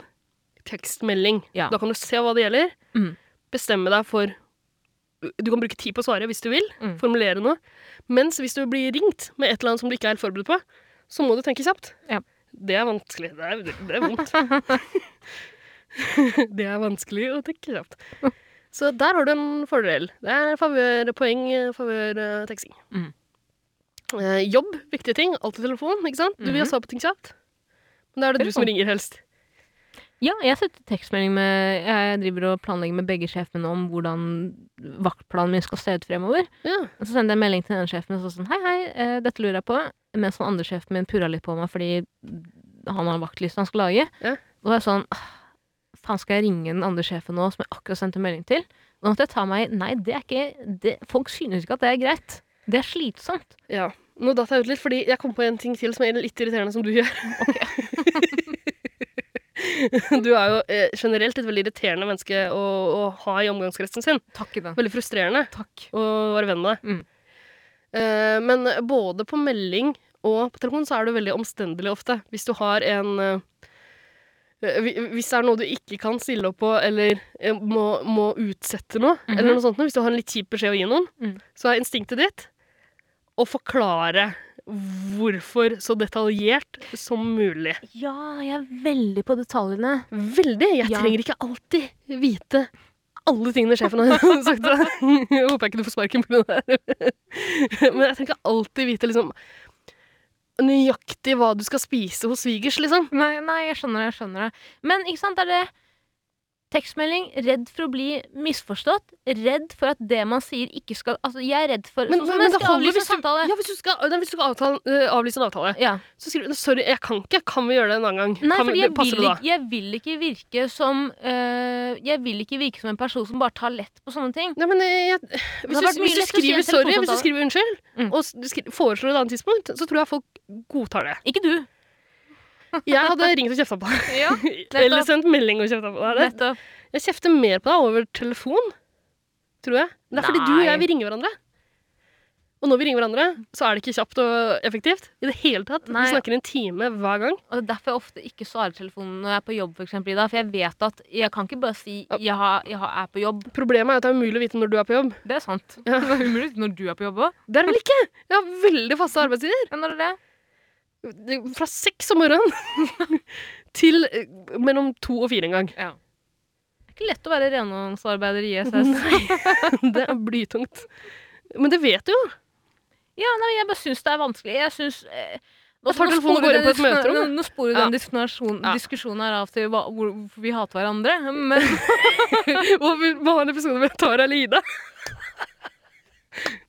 A: tekstmelding.
B: Ja.
A: Da kan du se hva det gjelder,
B: Mm.
A: bestemme deg for Du kan bruke tid på å svare hvis du vil,
B: Mm.
A: formulere noe. Mens hvis du blir ringt med et eller annet som du ikke er helt forberedt på, så må du tenke kjapt.
B: Ja.
A: Det er vanskelig. Det er, det er vondt. det er vanskelig å tenke kjapt. Så der har du en fordel. Det er favørpoeng, eh, favørteksting.
B: Mm.
A: Eh, jobb, viktige ting. Alltid telefon, ikke sant? Du vil ha
B: Mhm.
A: svar på ting kjapt. Men da er det du som ringer helst.
B: Ja, jeg setter tekstmelding med Jeg driver og planlegger med begge sjefene om hvordan vaktplanen min skal se ut fremover.
A: Ja.
B: Og så sender jeg en melding til den ene sjefen og så sånn hei, hei, eh, dette lurer jeg på. Mens den andre sjefen min purra litt på meg fordi han har en vaktliste han skal lage.
A: Ja.
B: Da var jeg sånn «Ah, faen skal jeg ringe den andre sjefen nå som jeg akkurat sendte melding til? Nå måtte jeg ta meg i Nei, det er ikke det, Folk synes ikke at det er greit. Det er slitsomt.
A: ja. Nå datt jeg ut litt, fordi jeg kom på en ting til som er litt irriterende, som du gjør. du er jo eh, generelt et veldig irriterende menneske å, å ha i omgangskretsen sin.
B: Takk i den.
A: Veldig frustrerende
B: Takk.
A: å være venn med deg.
B: Mm.
A: Eh, men både på melding og på telefon så er du veldig omstendelig ofte. Hvis du har en eh, hvi- Hvis det er noe du ikke kan stille opp på, eller eh, må, må utsette noe,
B: Mhm.
A: eller noe sånt, noe, hvis du har en litt kjip beskjed å gi noen,
B: Mm.
A: så er instinktet ditt å forklare hvorfor så detaljert som mulig.
B: Ja, jeg er veldig på detaljene.
A: Veldig. Jeg
B: Ja.
A: trenger ikke alltid vite alle tingene sjefen har sagt til deg. Jeg håper ikke du får sparken pga. det her. Men jeg trenger ikke alltid vite liksom, nøyaktig hva du skal spise hos svigers, liksom.
B: Nei, nei, jeg skjønner det. jeg skjønner det. Men ikke sant, er det tekstmelding, redd for å bli misforstått, redd for at det man sier ikke skal Altså, jeg er redd for
A: Men,
B: sånn som
A: men,
B: jeg
A: det
B: skal
A: holder
B: avlyse
A: hvis
B: en
A: du,
B: samtale.
A: ja, hvis du skal, nei, hvis du skal avtale, eh, avlyse en avtale,
B: Ja.
A: så skriver du 'sorry, jeg kan ikke'. Kan vi gjøre det en annen gang?
B: Nei,
A: kan,
B: fordi
A: det-
B: jeg
A: passer
B: vil,
A: det da?
B: ikke, jeg vil ikke virke som øh, Jeg vil ikke virke som en person som bare tar lett på sånne ting.
A: Nei, men eh, jeg, hvis,
B: hadde vært
A: du,
B: mye
A: hvis du
B: lettere å si i en
A: skriver 'sorry', hvis du
B: telefonsamtale.
A: skriver 'unnskyld',
B: Mm.
A: og s- du skri, foreslår et annet tidspunkt, så tror jeg folk godtar det.
B: Ikke du.
A: Jeg hadde ringt og kjefta på deg.
B: Ja,
A: Eller sendt melding og kjefta på deg.
B: Nettopp.
A: Det- Jeg kjefter mer på deg over telefon, tror jeg. Det er fordi du og
B: Nei.
A: jeg vi ringer hverandre. Og når vi ringer hverandre, så er det ikke kjapt og effektivt. I det hele tatt.
B: Nei.
A: Vi snakker en time hver gang.
B: Og det er derfor jeg ofte ikke svarer telefonen når jeg er på jobb, for eksempel, Ida. For jeg vet at jeg kan ikke bare si
A: Ja.
B: jeg, har, 'jeg har- er på jobb'.
A: Problemet er at det er umulig å vite når du er på jobb.
B: Det er sant.
A: Ja.
B: Det er umulig når du er på jobb òg.
A: Det er det vel ikke? Jeg har veldig faste arbeidstider.
B: Men når er det?
A: Det- Fra seks om morgenen til eh, mellom to og fire en gang.
B: Det er ikke lett å være renholdsarbeider i E ISS.
A: Det er blytungt. Men det vet du jo.
B: Ja, nei, men jeg bare syns det er vanskelig. Jeg syns eh, nå,
A: tar
B: nå
A: telefonen og
B: sporer
A: går inn på et
B: den dis-
A: møterom,
B: Nå, nå sporer
A: Ja.
B: den diskusjonen,
A: Ja.
B: diskusjonen her av til hva, hvor, hvorfor vi hater hverandre. Men
A: Og vi må ha en episode med Tara eller Ida.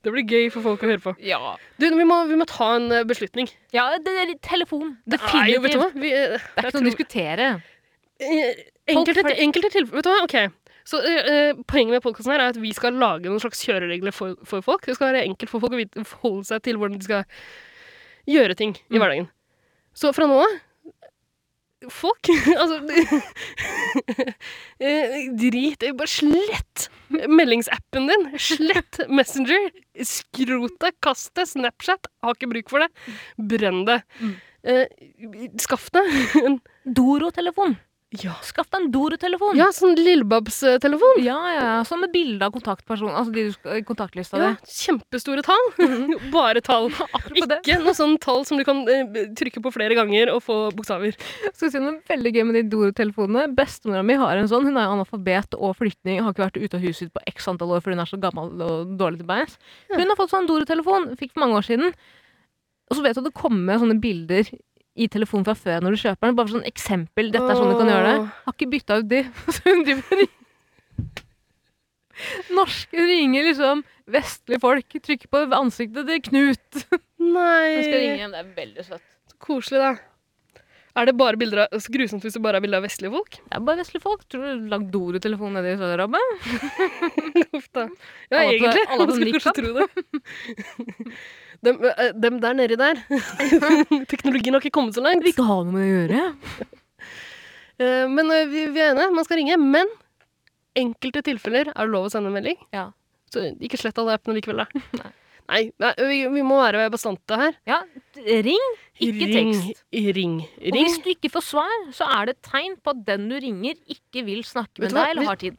A: Det blir gøy for folk å høre på.
B: ja.
A: Du, vi må, vi må ta en eh, beslutning.
B: ja det er litt telefon.
A: Nei, jo, vet du
B: Definitivt.
A: hva? Vi, eh,
B: Det er ikke
A: jeg
B: noe å
A: tror-
B: diskutere.
A: eh,
B: Folk
A: enkelte,
B: flest-
A: enkelte tilfeller Vet du hva? Ok. Så eh, eh, Poenget med podkasten er at vi skal lage noen slags kjøreregler for, for folk. Det skal være enkelt for folk å vite, forholde seg til hvordan de skal gjøre ting i
B: Mm.
A: hverdagen. Så fra nå av Folk Altså eh, Drit Bare slett meldingsappen din. Slett Messenger. Skrot det. Kast det. Snapchat. Har ikke bruk for det. Brenn det.
B: Mm.
A: Eh, skaff deg en
B: Doro-telefon.
A: Ja.
B: Skaff deg en Doro-telefon.
A: Ja, sånn lillebabs-telefon.
B: ja, ja. Sånn med bilde av kontaktpersonen. Altså de du skal, i kontaktlista
A: Ja,
B: di.
A: kjempestore tall. Bare tall.
B: Apropos Mhm. det,
A: Ikke noe sånn tall som du kan eh, trykke på flere ganger og få bokstaver.
B: skal jeg si noe veldig gøy med de Doro-telefonene. Bestemora mi har en sånn. Hun er jo analfabet og flyktning. Har ikke vært ute av huset sitt på x antall år fordi hun er så gammel og dårlig til beins.
A: Ja.
B: Hun har fått sånn Doro-telefon. Fikk for mange år siden. Og så vet du at det kommer sånne bilder i telefonen fra før når du kjøper den. Bare for sånn eksempel. Dette er sånn du kan gjøre det. Har ikke bytta ut de. Så hun driver og ringer. Norske ringer liksom vestlige folk. Trykker på ansiktet til Knut. Hun skal ringe
A: Nei,
B: hjem. Det er veldig søtt.
A: så koselig, da. Er det bare bilder av, så grusomt hvis det bare er bilder av vestlige folk?
B: Det er bare vestlige folk. Tror du lagd Doro-telefon nede i Saudi-Arabia?
A: Uff da. Ja,
B: Alle på-
A: egentlig.
B: alle på
A: Man skulle kanskje tro det. Dem, eh, dem der nedi der. Teknologien har ikke kommet så langt.
B: vil ikke ha noe med det å gjøre.
A: Eh, Men eh, vi, vi er enige, man skal ringe. Men enkelte tilfeller er det lov å sende en melding.
B: Ja.
A: Så ikke slett alle appene likevel, da. Nei, nei vi, vi må være bastante her.
B: Ja, ring, ikke
A: ring,
B: tekst.
A: Ring.
B: Og
A: Ring.
B: hvis du ikke får svar, så er det et tegn på at den du ringer, ikke vil snakke
A: Vet
B: med
A: du
B: deg
A: hva? Vi-
B: eller har tid.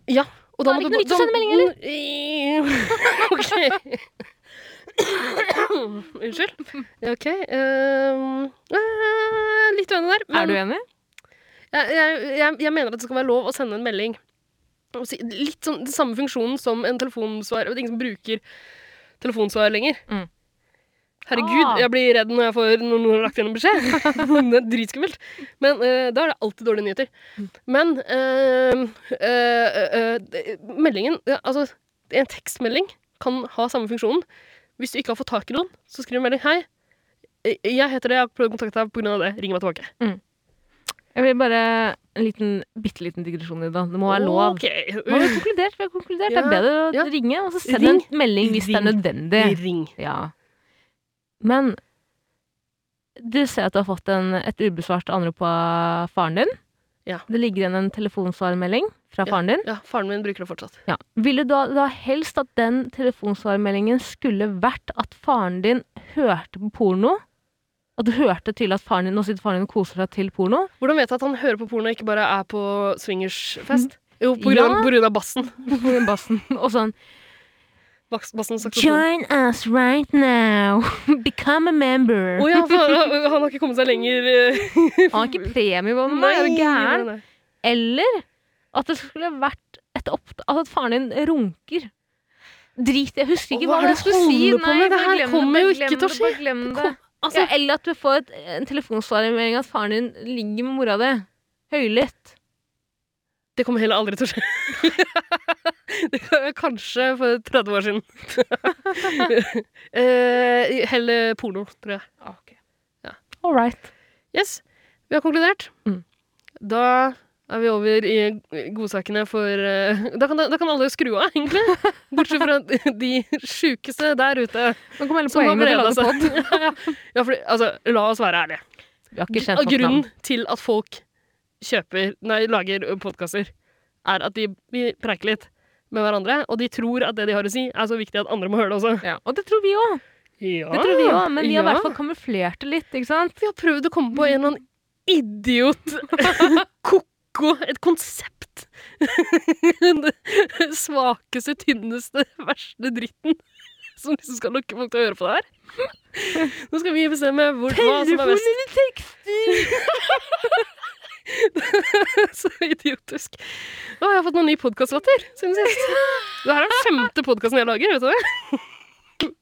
A: Og
B: da er det
A: må
B: ikke noe
A: vits å sende melding, eller? ok. Unnskyld. Ok. ehm, eh, litt uenig der. men-
B: Er du enig?
A: Jeg, jeg, jeg, jeg mener at det skal være lov å sende en melding. Og si- Litt sånn den samme funksjonen som en telefonsvar. Det er ingen som bruker telefonsvar lenger.
B: Mm.
A: Herregud,
B: Ah.
A: jeg blir redd når, jeg får, når noen har lagt igjen en beskjed. det er dritskummelt. Men eh, da er det alltid dårlige nyheter.
B: Mm.
A: Men eh, eh, eh, det- meldingen ja, Altså, en tekstmelding kan ha samme funksjonen. Hvis du ikke har fått tak i noen, så skriv en melding. Hei, eh, jeg heter det, jeg har prøvd å kontakte deg pga. det. Ring meg tilbake.
B: Jeg vil bare en liten, bitte liten digresjon i dag. Det må være lov.
A: Ok.
B: Nå har vi konkludert. Vi har konkludert. Det
A: Ja,
B: er bedre å
A: ja.
B: ringe, og så send
A: Ring.
B: en melding hvis det er
A: Ring.
B: nødvendig.
A: Ring.
B: Ja. Men du ser at du har fått en, et ubesvart anrop av faren din.
A: Ja.
B: Det ligger igjen en telefonsvarmelding fra faren din.
A: Ja, faren min bruker det fortsatt.
B: Ja. Ville du da, da helst at den telefonsvarmeldingen skulle vært at faren din hørte på porno? At du hørte til at faren din, nå sitter faren din og koser seg til porno?
A: Hvordan vet jeg at han hører på porno og ikke bare er på swingersfest? Jo, på
B: Ja.
A: grunn, på grunn av bassen.
B: Med bassen, og sånn
A: Bass, bassen saksofon.
B: Join us right now! Become a member!
A: Å ja, for han, han har ikke kommet seg lenger. eh,
B: Han har ikke premie på meg,
A: nei,
B: er du
A: nei,
B: gæren?
A: nei.
B: Eller at det skulle vært et opp... At faren din runker. Drit, jeg husker ikke
A: Hva
B: hva, jeg
A: er det du
B: skulle si.
A: holder på med? Det
B: bare
A: her
B: glem
A: kommer
B: bare
A: jo ikke
B: glem
A: til å
B: det, bare Glem det.
A: Altså,
B: ja, eller at du får et, en telefonsvarmelding at faren din ligger med mora di. Høylytt.
A: Det kommer heller aldri til å skje. det kan- Kanskje for 30 år siden. Eh, Heller porno, tror jeg.
B: All right.
A: Yes, vi har konkludert.
B: Mm.
A: Da er vi over i godsakene for eh, da kan, da kan alle skru av, egentlig. Bortsett fra de sjukeste der ute.
B: Nå kom hele
A: som har
B: poenget med å lage podd.
A: beredet seg. ja, ja. ja, fordi, altså, la oss være ærlige.
B: Vi har ikke
A: Av
B: kjent noen
A: grunnen til at folk kjøper, nei, lager podkaster, er at de, de preiker litt med hverandre, og de tror at det de har å si, er så viktig at andre må høre det også.
B: Ja, og det tror vi òg.
A: Ja,
B: Det tror vi også, men vi har i
A: Ah, ja.
B: hvert fall kamuflert det litt, ikke sant?
A: Vi har prøvd å komme på en eller annen idiot koko, et konsept. Den svakeste, tynneste, verste dritten som liksom skal lokke folk til å høre på det her. Nå skal vi bestemme hvor, hva som er best.
B: eller tekster!
A: Så idiotisk. Å, jeg har fått noen ny podkastlatter siden sist. Det her er den femte podkasten jeg lager, vet du det?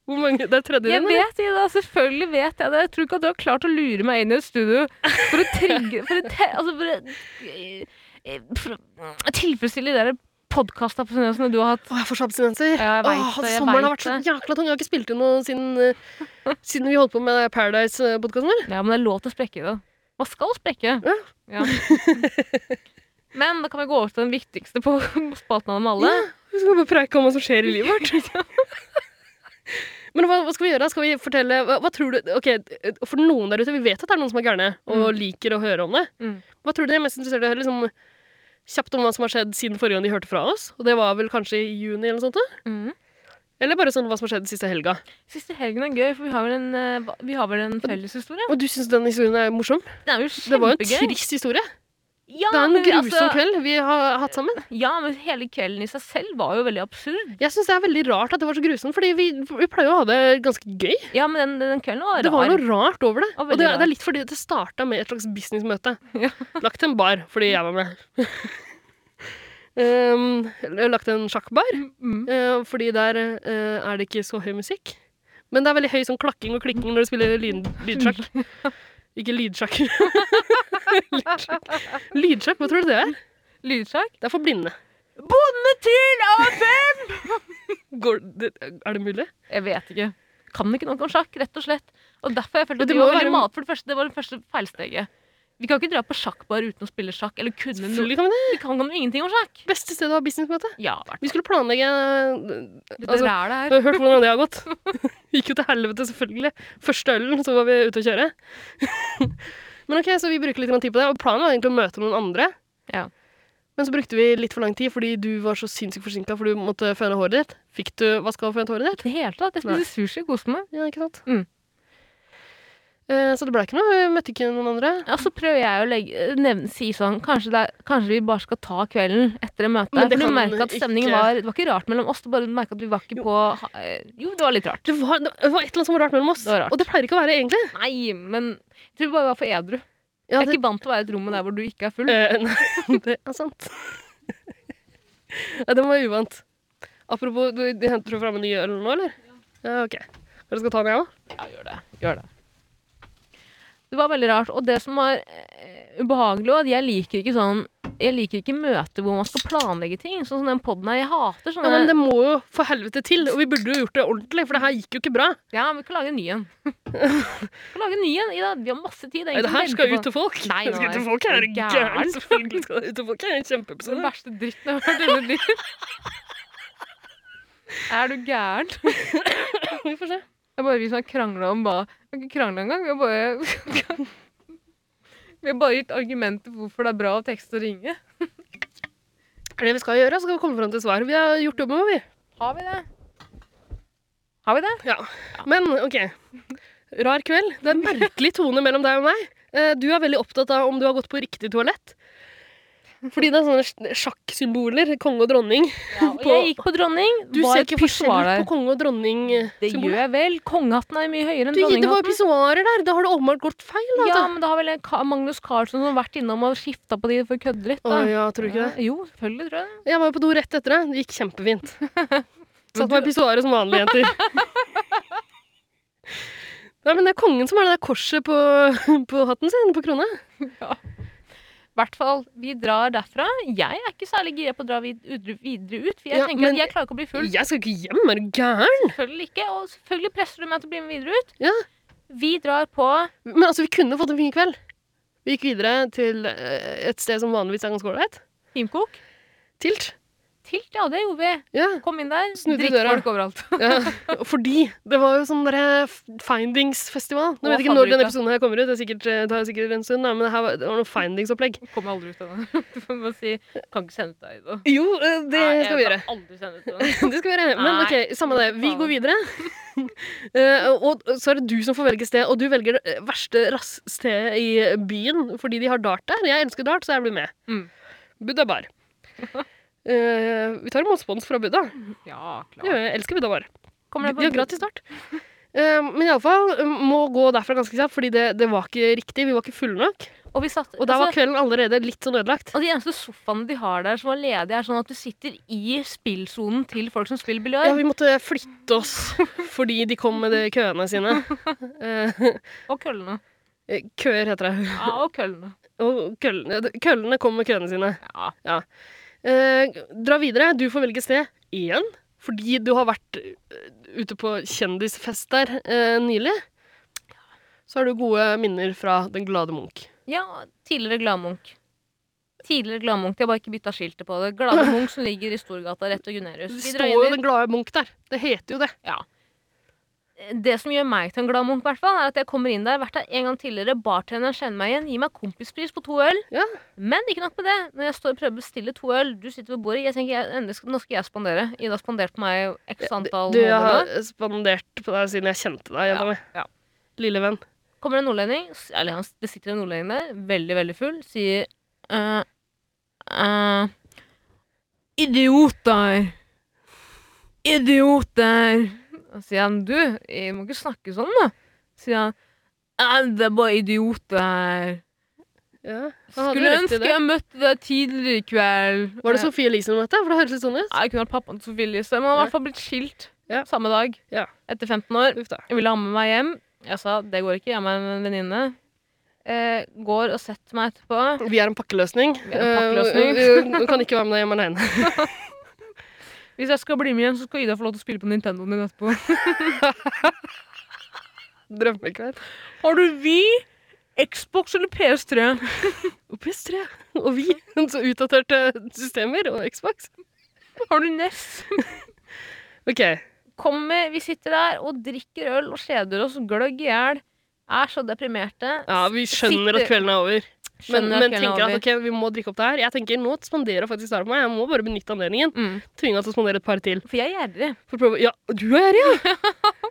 A: Hvor mange? Det er tredje
B: Jeg
A: din, eller?
B: vet det, da. Selvfølgelig vet jeg det. Jeg tror ikke at du har klart å lure meg inn i et studio for å trigge For å, te, altså for å, eh, for å tilfredsstille de der podkast-abstinensene du har hatt.
A: Å, jeg får så abstinenser.
B: Ja, jeg vet
A: Åh,
B: det, jeg
A: sommeren
B: vet
A: har vært så jækla tung. Jeg har ikke spilt inn noe siden, eh, siden vi holdt på med Paradise-podkasten vår.
B: Ja, men det er lov til å sprekke det. Man skal sprekke.
A: Ja.
B: Ja. men da kan vi gå over til den viktigste på spalten av dem alle.
A: Vi skal bare preike om hva som skjer i livet vårt. Men hva, hva skal vi gjøre? Skal vi fortelle hva, hva tror du, ok, For noen der ute, vi vet at det er noen som er gærne og liker å høre om det.
B: Mm.
A: Hva tror du de er mest interessert i? å høre, Liksom, kjapt om hva som har skjedd siden forrige gang de hørte fra oss. Og det var vel kanskje i juni? Eller noe sånt da?
B: Mhm.
A: Eller bare sånn hva som har skjedd siste helga.
B: Siste helgen er gøy, for vi har vel en, eh, ba- vi har vel en felleshistorie.
A: Og du syns den historien er morsom?
B: Det er jo
A: Det var jo en
B: kjempegøy.
A: trist historie.
B: Ja,
A: Det er en
B: men
A: grusom
B: altså,
A: kveld vi har hatt sammen.
B: Ja, men hele kvelden i seg selv var jo veldig absurd.
A: Jeg syns det er veldig rart at det var så grusomt, fordi vi, vi pleier jo å ha det ganske gøy.
B: Ja, men den, den kvelden var rar.
A: Det var noe rart over det.
B: Og
A: Og,
B: veldig
A: det, det
B: rart.
A: er litt fordi det starta med et slags businessmøte.
B: Ja.
A: Lagt til en bar, fordi jeg var med. um, lagt til en sjakkbar,
B: Mm.
A: eh, fordi der eh, er det ikke så høy musikk. Men det er veldig høy sånn klakking og klikking når du spiller lyn, lydsjakk. Ikke lydsjakk. lydsjakk. Lydsjakk, hva tror du det er?
B: Lydsjakk.
A: Det er for blinde.
B: Bonde til AFM!
A: Går, det, er det mulig?
B: Jeg vet ikke. Kan ikke nok om sjakk, rett og slett. Og derfor har jeg følt
A: Men
B: at
A: det
B: vi
A: må
B: var
A: jo
B: veldig
A: være-
B: mat for det første. Det var det første feilsteget. Vi kan ikke dra på sjakkbar uten å spille sjakk. Eller kunne noe.
A: Selvfølgelig kan vi det.
B: Vi kan jo ingenting om sjakk.
A: Beste stedet å ha businessmøte.
B: Ja, vært
A: Vi skulle planlegge
B: litt
A: altså,
B: ræl
A: Jeg
B: her.
A: har hørt hvordan det har gått. Gikk jo til helvete, selvfølgelig. Første ølen, så var vi ute å kjøre. Men ok, så vi bruker litt grann tid på det. Og planen var egentlig å møte noen andre.
B: Ja.
A: Men så brukte vi litt for lang tid fordi du var så sinnssykt forsinka for du måtte føne håret ditt. Fikk du vaska og fønt håret ditt?
B: I det hele tatt. Jeg
A: Nei.
B: spiser sushi og koser meg.
A: Ja, ikke sant?
B: Mm.
A: Eh, så det ble ikke noe. Vi møtte ikke noen andre.
B: Ja, så prøver jeg å legge, nevne, si sånn kanskje, det er, kanskje vi bare skal ta kvelden etter det møtet.
A: Men det
B: For du
A: kan
B: merka at stemningen
A: ikke-
B: var Det var ikke rart mellom oss. Du bare merka at vi var ikke på ha- eh, Jo, det var litt rart.
A: Det var, det var et eller annet som var rart mellom oss.
B: Det var rart.
A: Og det pleier ikke å være, egentlig.
B: Nei, men jeg tror vi bare var for edru.
A: Ja,
B: Jeg er
A: det-
B: ikke vant til å være i et rom der hvor du ikke er full.
A: Eh, nei, det er sant. ja, den var uvant. Apropos, du, du henter du fram en ny øl nå, eller? Ja, ok. Dere skal ta den, jeg òg?
B: Ja, gjør det. Gjør det. Det var veldig rart. Og det som var eh, ubehagelig, var at jeg liker ikke sånn Jeg liker ikke møter hvor man skal planlegge ting. Sånn som den poden her. Jeg hater sånne
A: Ja, men det må jo for helvete til, og vi burde jo gjort det ordentlig, for det her gikk jo ikke bra.
B: Ja, men vi kan lage en ny en. Vi kan lage en ny en, Ida. Vi har masse tid. Det er ingen
A: Nei, det
B: som
A: her
B: venter
A: skal
B: på
A: ut til folk.
B: Nei,
A: det skal
B: nei,
A: ut til folk her, er du
B: gæren?
A: gæren. Selvfølgelig skal det ut til folk her. En
B: den
A: kjempeepisode.
B: verste dritten jeg har hørt i hele mitt liv. Er du gæren? Det
A: Vi får se.
B: er bare vi som har krangla om hva Vi har ikke krangla engang. Vi har bare Vi har bare gitt argumenter for hvorfor det er bra å tekste og ringe.
A: Er det vi skal gjøre, så skal vi komme fram til svar. Vi har gjort jobben vår, vi.
B: Har vi det? Har vi det?
A: Men OK. Rar kveld. Det er en merkelig tone mellom deg og meg. Eh, Du er veldig opptatt av om du har gått på riktig toalett. Fordi det er sånne sj- sjakksymboler. Konge og dronning. på-
B: jeg gikk på dronning.
A: Du
B: var
A: ser
B: et
A: ikke
B: pissoar
A: forskjell
B: der.
A: på konge og dronning. eh,
B: Det gjør
A: symbolet.
B: jeg vel. Kongehatten er mye høyere enn
A: Du, det var jo
B: dronninghatten.
A: pissoarer der. Da har det åpenbart gått feil. Da.
B: Ja, men da har vel Ka- Magnus Carlsen som har vært innom og skifta på de for å kødde litt.
A: Å
B: Da.
A: ja, tror du ikke det?
B: Jo, selvfølgelig tror jeg det.
A: Jeg var jo på do rett etter det. Det gikk kjempefint.
B: du-
A: Satt meg i pissoaret som vanlige jenter. Nei, men det er kongen som har det der korset på, på hatten sin, på krona.
B: I hvert fall, vi drar derfra. Jeg er ikke særlig gira på å dra vid- ud- videre ut, for jeg
A: Ja,
B: tenker at
A: men-
B: jeg klarer ikke å bli full.
A: Jeg skal ikke hjem, er du gæren?
B: Selvfølgelig ikke, og selvfølgelig presser du meg til å bli med videre ut.
A: Ja.
B: Vi drar på
A: Men altså, vi kunne fått en fin kveld. Vi gikk videre til eh, et sted som vanligvis er ganske ålreit.
B: Teamcook.
A: Tilt.
B: Tilt, ja, det gjorde vi.
A: Ja.
B: Kom inn der,
A: Snudde i døra.
B: drittfolk overalt.
A: ja. Fordi det var jo sånn derre findingsfestival.
B: Å,
A: Nå vet jeg ikke når denne
B: fadderuke.
A: episoden her kommer ut, det er sikkert, eh, tar sikkert en stund, da, men det, her var, det var noe findingsopplegg.
B: Kommer aldri ut av den. Du får bare si Kan ikke sende ut deg, da.
A: Jo, eh, det
B: Nei,
A: skal vi gjøre.
B: Jeg kan aldri sende ut den.
A: Det skal vi gjøre. Men
B: Nei.
A: ok, samme det. Vi går videre. Eh, og og så er det du som får velge sted, og du velger det verste rassstedet i byen fordi de har dart der. Jeg elsker dart, så jeg blir med.
B: Mm.
A: Buddha bar. Eh, vi tar imot spons fra Buddha.
B: Ja,
A: Ja,
B: klart.
A: jeg elsker Buddha bar.
B: Kommer det
A: De,
B: på
A: de har gratis dart. Eh, men iallfall må gå derfra ganske kjapt, fordi det, det var ikke riktig. Vi var ikke fulle nok.
B: Og, vi satt,
A: Og da var
B: altså,
A: kvelden allerede litt sånn ødelagt.
B: og de eneste sofaene de har der som var ledige, er sånn at du sitter i spillsonen til folk som spiller biljard.
A: Ja, vi måtte flytte oss fordi de kom med de køene sine. Eh,
B: Og køllene.
A: køer heter det.
B: Ja, og køllene.
A: Og køllene, køllene kommer med køene sine.
B: Ja.
A: Eh, dra videre. Du får velge sted igjen. Fordi du har vært eh, ute på kjendisfest der eh, nylig. Så har du gode minner fra Den glade Munch.
B: Ja, tidligere gladmunk. Tidligere gladmunk. Jeg har bare ikke bytta skiltet på det. Glade munk som ligger i Storgata rett ved Gunerius.
A: Det
B: Vi drar
A: står jo
B: inn
A: Den glade Munch der. Det heter jo det.
B: i- Det som gjør meg til en gladmunk, i hvert fall, er at jeg kommer inn der, vært der en gang tidligere, bartenderen kjenner meg igjen, gir meg kompispris på to øl.
A: Ja.
B: Men ikke nok med det. Når jeg står og prøver å bestille to øl, du sitter ved bordet, jeg tenker jeg, endelig skal, nå skal jeg spandere. Ida spanderte på meg x antall
A: Du, jeg
B: måneder.
A: har spandert på deg siden jeg kjente deg. Jenna mi.
B: ja.
A: Lille venn.
B: Kommer det en nordlending, s- eller han, det sitter en nordlending der, veldig, veldig full, sier eh, eh, Idiot der! Idiot der! Og så sier han, du, jeg må ikke snakke sånn, da. Så sier han, «Eh, det er bare idiot der.
A: Ja. Han hadde
B: Skulle
A: rett i
B: ønske jeg møtte deg tidligere i kveld. Eh,
A: Var det Sofie Elise du møtte? For det høres litt sånn ut.
B: Nei, jeg kunne vært pappaen til Sofie Elise, men han har i hvert fall blitt skilt
A: Ja.
B: samme dag.
A: Ja.
B: Etter 15 år.
A: Uff da.
B: Jeg ville ha med meg hjem. Jeg sa det går ikke, jeg har med meg en venninne. Eh, går og setter meg etterpå.
A: Vi er en pakkeløsning.
B: Vi er en pakkeløsning.
A: Eh, Du kan ikke være med deg hjem alene.
B: Hvis jeg skal bli med igjen, så skal Ida få lov til å spille på Nintendoen din etterpå.
A: Drømmekveld.
B: Har du Wii, Xbox eller PS3?
A: Og PS3. Og vi. Så utdaterte systemer og Xbox.
B: Har du E NES?
A: OK.
B: Kommer, vi sitter der og drikker øl og kjeder oss gløgg i hjel. Er så deprimerte.
A: Ja, vi skjønner at
B: Sitter-
A: kvelden er over. Men,
B: Skjønner at kvelden
A: men
B: er
A: tenker at
B: over.
A: ok, vi må drikke opp det her. Jeg tenker, Nå spanderer faktisk Sara på meg. Jeg må bare benytte anledningen.
B: mm.
A: Tvinge henne til å spandere et par til.
B: For jeg er gjerrig.
A: For å prøve Ja, du er gjerrig, ja!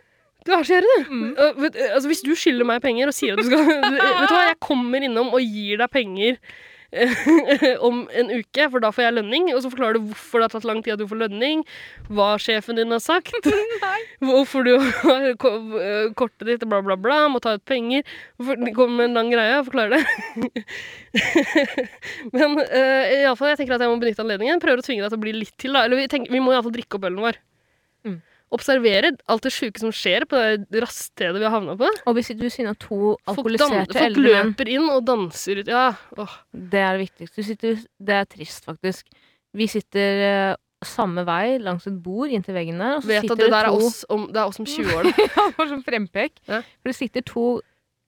A: Du er så gjerrig, du.
B: Mm.
A: Uh, vet- Altså, hvis du skylder meg penger og sier at du skal Vet du hva, jeg kommer innom og gir deg penger eh, om en uke, for da får jeg lønning. Og så forklarer du hvorfor det har tatt lang tid at du får lønning, hva sjefen din har sagt,
B: Nei.
A: hvorfor du har ko- eh, kortet ditt, bla, bla, bla, må ta ut penger. Hvorfor, det kommer med en lang greie og forklarer det. Men eh, i alle fall, jeg tenker at jeg må benytte anledningen. Prøver å tvinge deg til å bli litt til, da. Eller vi, tenker, vi må iallfall drikke opp ølen vår.
B: Mm.
A: Observere alt det sjuke som skjer på det raststedet vi har havna på.
B: Og vi sitter ved siden av to
A: Folk, dan
B: alkoholiserte
A: folk
B: eldre menn.
A: løper inn og danser ut. Ja. Åh.
B: Det er det viktigste. Du sitter, det er trist, faktisk. Vi sitter eh, samme vei langs et bord inntil veggen der. Og så
A: Vet
B: sitter
A: at det der er
B: to,
A: oss om, det er oss om 20 år. da.
B: ja, det var sånn frempek.
A: Ja.
B: For det sitter to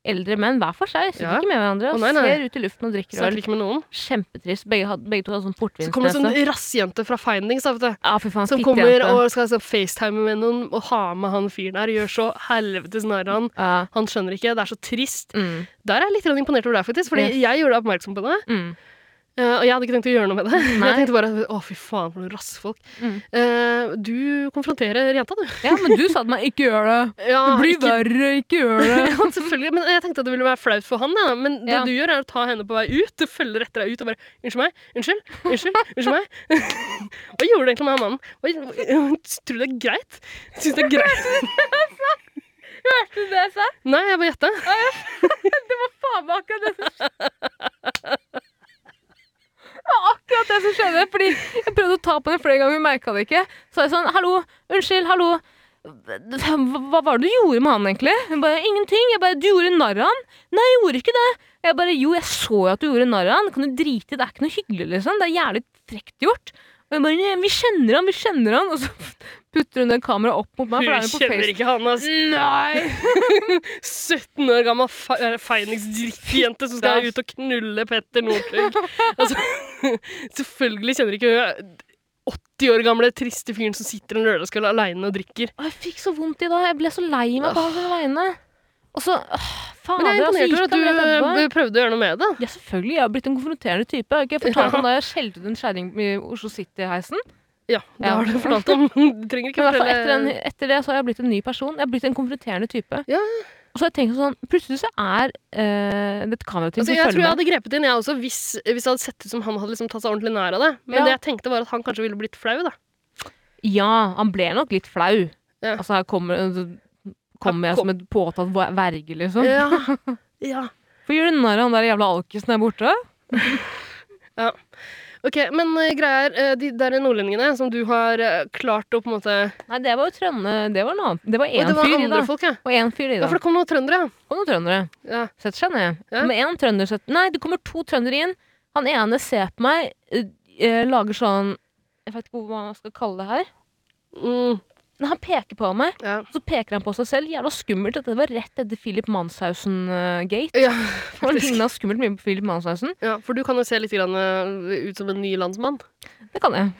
B: eldre menn hver for seg. Sitter
A: Ja.
B: ikke med hverandre og
A: Å, nei, nei.
B: ser ut i luften og drikker
A: Snakker
B: øl.
A: ikke med noen.
B: Kjempetrist. Begge, had, begge to hadde sånn
A: Så kommer det en
B: portvinsnese.
A: sånn rassjente fra Findings da, vet du,
B: Ja, fy faen.
A: som
B: fittejente.
A: kommer og skal så facetime med noen og ha med han fyren her. Gjør så helvetes narr av han.
B: Ja.
A: Han skjønner ikke. Det er så trist.
B: Mm,
A: Der er jeg litt grann imponert over deg, faktisk. Fordi
B: Yes.
A: jeg gjorde deg oppmerksom på det.
B: mm.
A: Eh, og jeg hadde ikke tenkt å gjøre noe med det.
B: Nei.
A: Jeg tenkte bare å, fy faen, for noen rassfolk.
B: Mm.
A: Eh, du konfronterer jenta, du.
B: ja, men du sa til meg 'ikke gjør det'.
A: Ja,
B: Det blir
A: ikke-
B: verre, ikke gjør det.
A: Ja, selvfølgelig. Men jeg tenkte at det ville være flaut for han, ja. men det
B: Ja.
A: du gjør, er å ta henne på vei ut. Du følger etter deg ut og bare 'Unnskyld meg. Unnskyld. Unnskyld. Unnskyld meg.' Hva gjorde du egentlig med han mannen? Hva- Tror du det er greit? Syns det er greit?
B: Hørte du det jeg sa?
A: Nei, jeg bare gjetta.
B: Faen meg akkurat det som skjedde. Det var akkurat det som skjedde. Fordi jeg prøvde å ta på den flere ganger, men merka det ikke. Så var jeg sånn 'hallo, unnskyld, hallo'. Hva, hva var det du gjorde med han, egentlig? Hun bare 'ingenting'. Jeg bare 'du gjorde narr av han'. Nei, jeg gjorde ikke det. Jeg bare 'jo, jeg så jo at du gjorde narr av han'. Kan du drite i det? Det er ikke noe hyggelig, liksom. Det er jævlig frekt gjort. Og jeg bare 'nei, vi kjenner han, vi kjenner han'. Og så putter hun det kameraet opp mot meg. For da er hun
A: Du
B: på
A: kjenner
B: Facebook.
A: ikke han, ass.
B: Nei!
A: 17 år gammel fe- eh, Phoenix-drittjente som skal
B: Ja.
A: ut og knulle Petter Northug. Altså, selvfølgelig kjenner ikke hun 80 år gamle, triste fyren som sitter en lørdagskveld aleine og drikker.
B: Å, jeg fikk så vondt i dag. Jeg ble så lei meg på hans vegne. Og så åh, altså, Fader,
A: Men jeg er
B: og så
A: imponert
B: gikk
A: over
B: han rett
A: at
B: etterpå.
A: du eh, prøvde å gjøre noe med det.
B: eh, Ja, selvfølgelig. Jeg har blitt en konfronterende type. Har ikke jeg fortalt om da jeg skjelte ut en skjæring i Oslo City-heisen?
A: Ja, det
B: Ja.
A: har du fortalt om. Du trenger ikke
B: Men i hvert fall etter,
A: fortelle
B: den, etter det så har jeg blitt en ny person. Jeg har blitt en konfronterende type.
A: Ja.
B: Og så har jeg tenkt sånn Plutselig så er eh, det et kamerateam
A: Altså,
B: som
A: jeg tror
B: følger
A: jeg
B: med.
A: hadde grepet inn, jeg også, hvis, hvis det hadde sett ut som han hadde liksom tatt seg ordentlig nær av det. Men
B: Ja.
A: det jeg tenkte, var at han kanskje ville blitt flau, da.
B: Ja, han ble nok litt flau.
A: Ja.
B: Altså, her kommer, kommer jeg
A: Her
B: som
A: kom-
B: et påtatt verge, liksom.
A: Ja. ja.
B: Hvorfor gjør du narr av han der jævla alkisen der borte?
A: Ok, men eh, greia er, eh, de der nordlendingene som du har eh, klart å på en måte
B: Nei, det var jo Trønne Det var en annen Det var
A: Å,
B: én
A: det var
B: fyr, i
A: andre
B: da.
A: folk, ja.
B: Og én fyr i
A: Ja,
B: da.
A: for det kom noen trøndere.
B: Og noen trøndere.
A: Ja.
B: Setter seg ned.
A: Ja.
B: Kommer én trønder set- Nei, det kommer to trøndere inn. Han ene ser på meg, eh, eh, lager sånn Jeg vet ikke hva man skal kalle det her.
A: Mm,
B: Men han peker på meg,
A: ja.
B: så peker han på seg selv. Jævla skummelt. Dette var rett etter Philip eh, Manshausen-gate.
A: Ja,
B: han
A: faktisk.
B: ligna skummelt mye på Philip Manshausen.
A: ja, for du kan jo se litt grann, eh, ut som en ny landsmann.
B: Det kan jeg.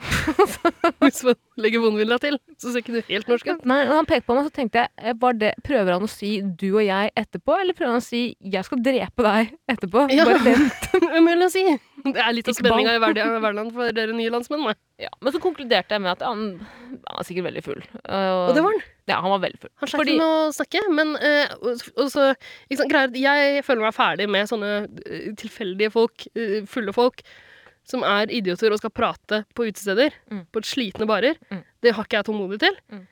A: Hvis man legger vondvilja til, så ser ikke du helt norsk ut.
B: Nei, når han pekte på meg, så tenkte jeg eh, var det, Prøver han å si 'du og jeg' etterpå, eller prøver han å si 'jeg skal drepe deg' etterpå?
A: Ja.
B: Bare vent.
A: Umulig å si. Det er litt av
B: Ikke ball.
A: spenninga i hverdag- hverdagen for dere nye landsmenn. da.
B: Ja, men så konkluderte jeg med at han, han var sikkert veldig full.
A: Og det var han.
B: Ja, han var veldig full.
A: Han sleit
B: Fordi-
A: med å snakke, men eh, og, og så, ikke sant, greier, at Jeg føler meg ferdig med sånne eh, tilfeldige folk, eh, fulle folk, som er idioter og skal prate på utesteder,
B: Mm.
A: på slitne barer.
B: Mm. Det
A: Det har ikke jeg tålmodighet til.
B: Mm.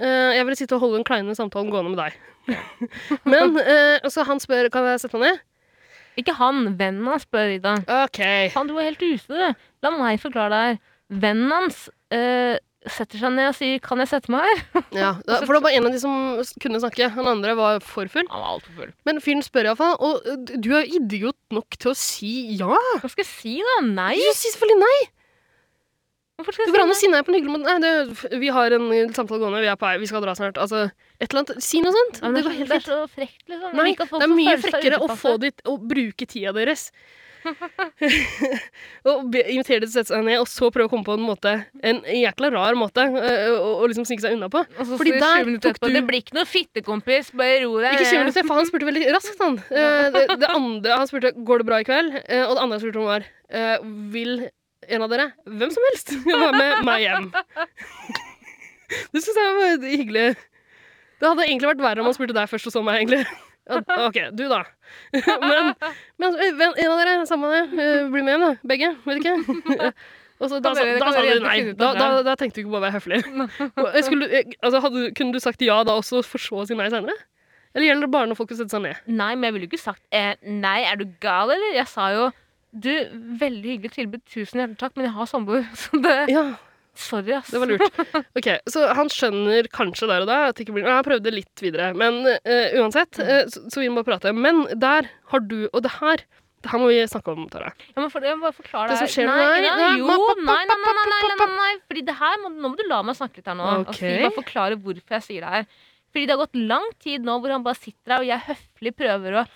A: Eh, jeg vil sitte og holde den kleine samtalen gående med deg. men eh, og så han spør kan jeg sette meg ned.
B: Ikke han, vennen hans, spør Ida.
A: OK.
B: Han, du var helt ute, du. La meg forklare deg her. Vennen hans eh, setter seg ned og sier 'kan jeg sette meg her?'
A: Ja, da- for det var en av de som s- kunne snakke. Han andre var for full.
B: Han var altfor full.
A: Men fyren spør iallfall. Og eh, du er jo idiot nok til å si ja.
B: Hva skal jeg si, da? Nei?
A: Du sier selvfølgelig nei.
B: Hvorfor skal
A: Det går an å
B: jeg si nei?
A: si nei på en hyggelig måte. Nei, det, vi har en samtale gående, vi er på vei, vi skal dra snart. Altså, et eller annet. Si noe sånt.
B: Ja, men
A: det
B: det, er
A: går
B: så,
A: helt
B: det er
A: fint.
B: så frekt, liksom.
A: Nei,
B: Ikke at folk
A: det er
B: skal
A: mye
B: føle seg
A: frekkere å
B: utenfor.
A: få dit, å bruke tida deres. og be- invitere dem til å sette seg ned, og så prøve å komme på en måte En jækla rar måte øh, å å liksom snike seg unna på.
B: Og så
A: Fordi
B: sier
A: der
B: 20 minutter
A: tok
B: etterpå,
A: du-
B: Det blir ikke noe fittekompis, bare ro deg
A: Ikke 20 minutter, for han spurte veldig raskt, han. Eh, det, det andre han spurte går det bra i kveld, Eh, og det andre han spurte om var eh, vil en av dere, hvem som helst, være med meg hjem. Det syns jeg var hyggelig. Det hadde egentlig vært verre om han spurte deg først og så meg, egentlig. Ja, OK, du, da. Men, men eh, hvem- en av dere, samme det, eh, blir med hjem, da. Begge. Vet ikke. Og så, da,
B: Kan
A: sa-
B: dere-
A: da
B: kan
A: sa
B: dere
A: du
B: jenter
A: nei.
B: finne ut
A: Da,
B: av
A: da,
B: det?
A: da tenkte du ikke på å være høflig. Og jeg Skulle, jeg, altså, hadde, du- kunne du sagt ja da også, for så å si nei senere? Eller gjelder det bare når folk vil sette seg ned?
B: Nei, men jeg ville jo ikke sagt eh, Nei, er du gal, eller? Jeg sa jo du, veldig hyggelig tilbud, tusen hjertelig takk, men jeg har samboer. Så det
A: Ja,
B: Sorry, ass.
A: det var lurt. Ok, Så han skjønner kanskje der og da at det ikke blir noe. Han prøvde litt videre. Men eh, uansett, eh, så, så vi må bare prate. Men der har du Og det her, det her må vi snakke om, Tara.
B: Ja, men for, jeg må bare forklare
A: Det
B: her.
A: som skjer
B: nei,
A: med deg-
B: nei,
A: nei,
B: Jo,
A: ma-
B: nei,
A: pa- pa-
B: nei, nei, nei, nei,
A: pa-
B: nei,
A: pa-
B: nei, Fordi det her må, Nå må du la meg snakke litt her nå.
A: Ok.
B: Og si, bare forklare hvorfor jeg sier det her. Fordi det har gått lang tid nå hvor han bare sitter der, og jeg høflig prøver å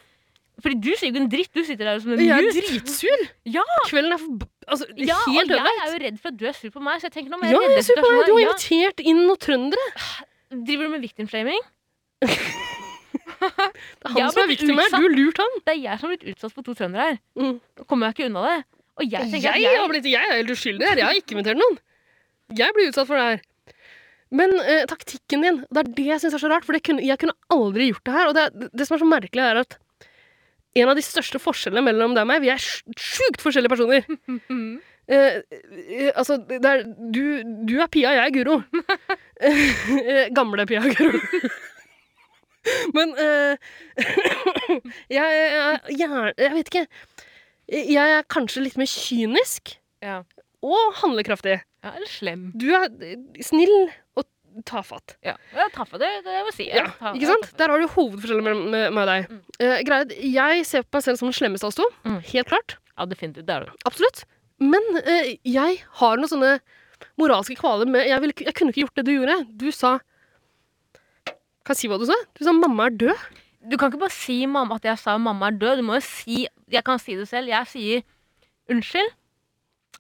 B: Fordi du sier jo ikke en dritt. Du sitter der som en
A: Jeg er
B: mus.
A: dritsur!
B: Ja.
A: Kvelden er forb... Altså,
B: Ja, og
A: helt
B: jeg
A: ødelagt.
B: er jo redd for at du er sur på meg, så jeg tenker nå må
A: Ja, jeg er
B: redde
A: sur på deg. Du
B: situasjonen
A: har
B: her.
A: invitert inn noen trøndere.
B: Ja. Driver du med victimflaming?
A: Det er
B: Jeg
A: han
B: har
A: som er
B: blitt
A: viktig her.
B: utsatt.
A: Du har lurt han.
B: Det er jeg som har blitt utsatt for to trøndere her.
A: Mm.
B: Nå kommer jeg ikke unna det. Og jeg
A: Jeg,
B: tenker at jeg
A: har blitt, jeg er helt uskyldig her. Jeg har ikke invitert noen. Jeg blir utsatt for det her. Men eh, taktikken din, det er det jeg syns er så rart. For det kunne, jeg kunne aldri gjort det her. Og det, er- det som er så merkelig, er at en av de største forskjellene mellom deg og meg Vi er sj- sjukt forskjellige personer.
B: Mhm.
A: Eh, eh, altså, det er, du, du er Pia, jeg er Guro. Eh, gamle Pia og Guro. Men eh, jeg, er gjer- jeg vet ikke. Jeg er kanskje litt mer kynisk
B: ja.
A: og handlekraftig.
B: ja, eller slem.
A: Du er snill og tafatt.
B: Ja, jeg tappa det, det jeg må si.
A: Ja,
B: Jeg tar-
A: ikke sant?
B: jeg tapper.
A: Der har du hovedforskjellen mellom med, med deg.
B: Mm.
A: Eh, greia er at jeg ser på meg selv som den slemmeste av oss to.
B: Mm.
A: Helt klart.
B: Ja, definitivt. Det er du.
A: Absolutt. Men eh, jeg har noen sånne moralske kvaler med jeg, ville ikke- jeg kunne ikke gjort det du gjorde. Du sa Kan jeg si hva du sa? Du sa 'mamma er død'.
B: Du kan ikke bare si mamma at jeg sa mamma er død. Du må jo si Jeg kan si det selv. Jeg sier unnskyld.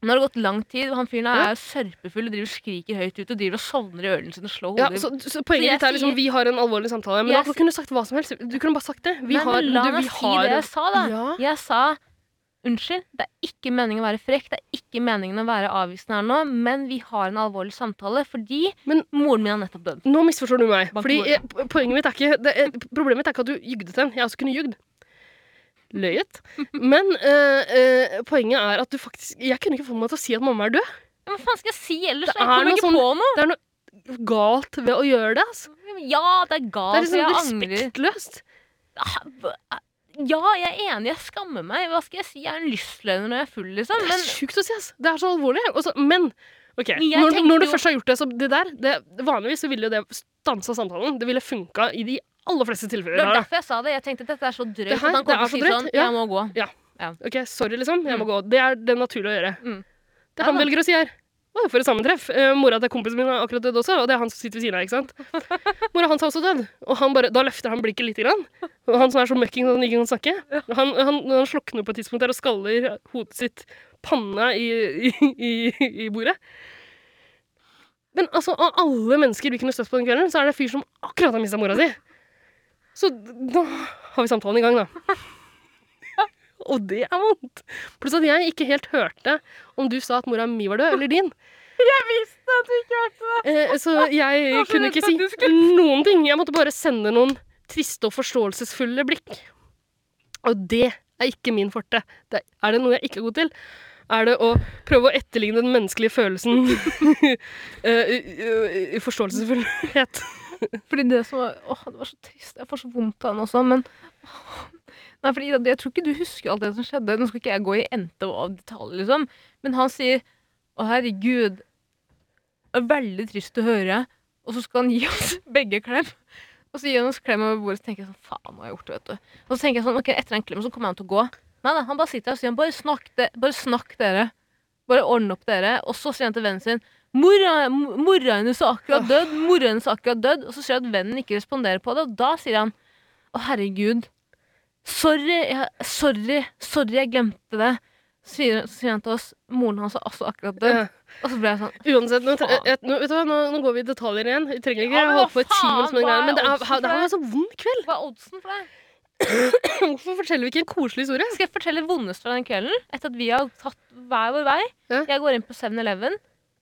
B: Nå har det gått lang tid, og han fyren her
A: Ja.
B: er jo sørpefull og driver og skriker høyt ut og driver og sovner i ørene sine og slår
A: Ja,
B: hodet i-
A: så, så
B: Så
A: poenget
B: jeg
A: ditt er liksom
B: sier-
A: vi har en alvorlig samtale. Men
B: Jeg
A: da
B: sier-
A: kunne du sagt hva som helst. Du kunne bare sagt det. Vi
B: Nei,
A: har,
B: men la
A: du,
B: meg
A: vi
B: si
A: har
B: det jeg sa, da.
A: Ja.
B: Jeg sa unnskyld, det er ikke meningen å være frekk, det er ikke meningen å være avvisende her nå, men vi har en alvorlig samtale fordi
A: Men-
B: moren min har nettopp dødd.
A: Nå misforstår du meg.
B: Bak
A: Fordi
B: bordet.
A: eh, po- poenget mitt er ikke det, er- Problemet mitt er ikke at du jugde til den. Jeg også kunne jugd. Løyet. Men eh, eh, poenget er at du faktisk Jeg kunne ikke få meg til å si at mamma er død.
B: Men Hva faen skal jeg si ellers?
A: Det
B: Jeg
A: er
B: kommer
A: noe
B: ikke
A: sånn-
B: på noe.
A: Det er noe galt ved å gjøre det. Altså.
B: Ja, det er
A: Det er
B: galt, og
A: liksom
B: jeg angrer.
A: respektløst.
B: Ah, hva- Ja, jeg er enig, jeg skammer meg. Hva skal jeg si? Jeg er en lystløgner når jeg er full, liksom.
A: Det
B: Men
A: er sjukt å si, ass. Det er så alvorlig. Og så- men ok,
B: Men jeg
A: når,
B: tenker
A: når du
B: jo-
A: først har gjort det, så det der det, Vanligvis så ville jo det stansa samtalen. Det ville funka i de aller fleste
B: det var
A: tilfeller. da.
B: derfor jeg sa det. Jeg tenkte at dette er så drøyt
A: Det her-
B: at han
A: det er
B: kommer til å
A: så
B: si
A: drøyt,
B: sånn
A: ja.
B: Jeg må gå.
A: Ok, sorry, liksom. Jeg må gå. Det er det naturlige å gjøre.
B: Mm.
A: Det
B: Ja
A: han
B: da.
A: velger å si her. Å, for et sammentreff. Eh, mora til kompisen min er akkurat død også, og det er han som sitter ved siden av. ikke sant? Mora hans er også død. Og han bare, da løfter han blikket lite grann. Og han som er så møkking at han ikke kan snakke. Han, han, han slokner på et tidspunkt der og skaller hodet sitt panna i, i, i, i bordet. Men altså, av alle mennesker vi kunne støtt på den kvelden, så er det en fyr som akkurat har mista mora si. Så da har vi samtalen i gang, da. Og det er vondt. Pluss at jeg ikke helt hørte om du sa at mora mi var død, eller din.
B: Jeg visste at du ikke hørte det!
A: Eh, så jeg
B: var så
A: kunne
B: redd
A: ikke
B: for
A: si
B: at du
A: noen ting. Jeg måtte bare sende noen triste og forståelsesfulle blikk. Og det er ikke min forte. Det er, er det noe jeg ikke er god til, er det å prøve å etterligne den menneskelige følelsen eh, i- i- i forståelsesfullhet.
B: Fordi det som var, åh, det var så trist. Jeg får så vondt av han også, men åh. Nei, fordi jeg, jeg tror ikke du husker alt det som skjedde. Nå skal ikke jeg gå i ente av detaljer, liksom. Men han sier Å, herregud. Det er veldig trist å høre. Og så skal han gi oss begge klem. Og så gir han oss klem over bordet, så tenker jeg sånn Faen, hva har jeg gjort, vet du. Og så tenker jeg sånn Ok, etter den klemmen så kommer han til å gå. Nei da, han bare sitter her og sier Bare snakk, de, bare snakk dere. Bare ordne opp dere. Og så sier han til vennen sin Mora, mo- mora hennes er akkurat dødd, mora hennes er akkurat dødd. Og så ser jeg at vennen ikke responderer på det, og da sier han Å, herregud. Sorry, jeg, sorry, sorry, jeg glemte det. Så sier, så sier han til oss moren hans er også akkurat dødd.
A: Ja.
B: Og så ble jeg sånn
A: Uansett, nå, tre-
B: Faen.
A: eh, nå, vet du hva, nå, nå går vi i detaljer igjen. Vi trenger ikke
B: Ja, men hva
A: holde på i ti
B: faen,
A: minutter med det
B: hva er
A: greiene, men det,
B: oddsen
A: er,
B: for
A: det her
B: det?
A: var en så vond kveld.
B: Hva er oddsen for deg?
A: Hvorfor forteller vi ikke en koselig historie?
B: Skal jeg fortelle vondest fra den kvelden? Etter at vi har tatt hver vår vei.
A: Ja.
B: Jeg går inn på 7-Eleven.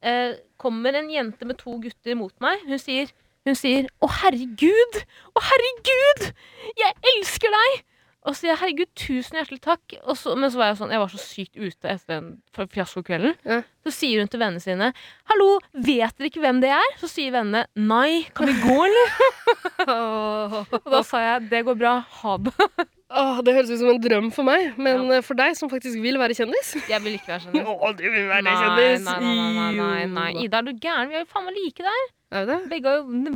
B: Eh, kommer en jente med to gutter mot meg. Hun sier, hun sier 'Å, herregud! Å, herregud! Jeg elsker deg!' Og så sier jeg 'herregud, tusen hjertelig takk'. Og så, men så var jeg sånn, jeg var så sykt ute etter den f- fiaskokvelden.
A: Ja.
B: Så sier hun til vennene sine 'Hallo, vet dere ikke hvem det er?' Så sier vennene 'Nei, kan vi gå, eller?' Og da sa jeg 'Det går bra. Ha det'.
A: Åh, det høres ut som en drøm for meg, men eh, for deg som faktisk vil være kjendis
B: Jeg vil ikke være sånn.
A: Å, du vil være
B: Nei,
A: kjendis!
B: nei, nei, nei, nei, nei.
A: Jo.
B: Ida, er du gæren? Vi er jo faen meg like der.
A: Er det?
B: Begge har jo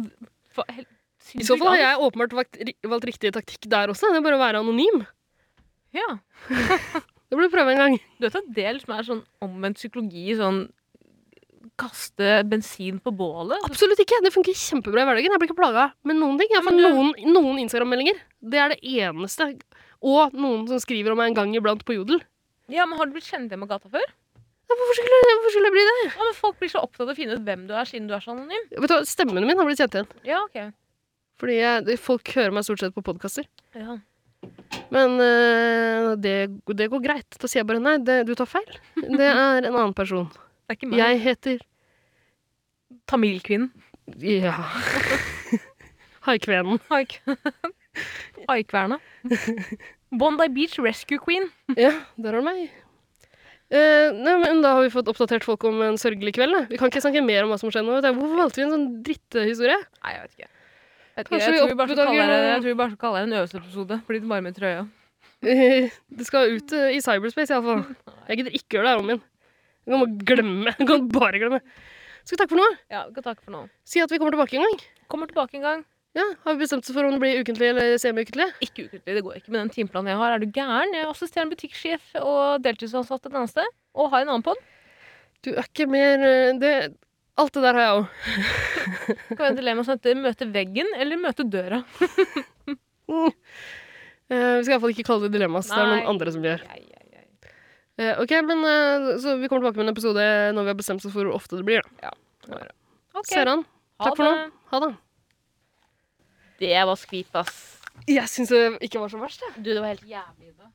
B: Hva- helt
A: I så
B: sinnssykt
A: fall har
B: alt.
A: jeg åpenbart valgt, valgt riktig taktikk der også. Det er bare å være anonym.
B: Ja.
A: Det burde du prøve en gang.
B: Du vet at det liksom er sånn omvendt psykologi, sånn kaste bensin på bålet.
A: Absolutt ikke. Det funker kjempebra i hverdagen. Jeg blir ikke plaga med noen ting. Jeg har fått
B: Men du-
A: noen, noen Instagram-meldinger. Det er det eneste. Og noen som skriver om meg en gang iblant på Jodel.
B: Ja, men Har du blitt kjent igjen på gata før?
A: Ja, Hvorfor skulle, hvorfor skulle jeg bli det?
B: Ja, men Folk blir så opptatt av å finne ut hvem du er, siden du er så anonym.
A: Vet du, hva, Stemmen min har blitt kjent igjen.
B: Ja, ok.
A: Fordi jeg, folk hører meg stort sett på podkaster.
B: Ja.
A: Men øh, det, det går greit. Da sier jeg bare nei, det, du tar feil. Det er en annen person.
B: Det er ikke meg.
A: Jeg heter
B: Tamilkvinnen.
A: Ja. Haikvenen.
B: Haik. Haikverna. Bondi Beach Rescue Queen.
A: Ja, der har du meg. Eh, nei, men Da har vi fått oppdatert folk om en sørgelig kveld. Da. Vi kan ikke snakke mer om hva som skjedde nå. vet du. Hvorfor valgte vi en sånn dritthistorie?
B: Nei, jeg vet ikke. Jeg, vet ikke,
A: Kanskje
B: jeg,
A: vi
B: tror vi bare skal
A: oppdager
B: kalle det,
A: noe-
B: jeg tror vi bare skal kalle det en øvelsesepisode. Fordi du bare med trøya.
A: Eh, det skal ut eh, i cyberspace, iallfall. Jeg gidder ikke gjøre det her om igjen. Du kan bare glemme. Du kan bare glemme. Skal vi takke for nå?
B: Ja, vi kan takke for nå.
A: Si at vi kommer tilbake en gang.
B: Kommer tilbake en gang.
A: Ja, Har vi bestemt oss for om det blir ukentlig eller semiukentlig?
B: Ikke ukentlig, det går ikke med den timeplanen jeg har. Er du gæren? Jeg er assisterende butikksjef og deltidsansatt et annet sted. Og har en annen pod.
A: Du er ikke mer eh, det, Alt det der har jeg òg.
B: Kan være et dilemma som heter 'møte veggen' eller 'møte døra'.
A: Mm. Eh, vi skal iallfall ikke kalle det dilemmas. Det er
B: Nei.
A: noen andre som gjør.
B: Ei, ei, ei.
A: Eh, ok, men eh, Så vi kommer tilbake med en episode når vi har bestemt oss for hvor ofte det blir. Da.
B: Ok,
A: Ser an.
B: ha
A: Takk for nå.
B: det.
A: Ha det.
B: Det var skvip, ass.
A: Jeg syns det ikke var så verst.
B: Du, det var helt jævlig. Da.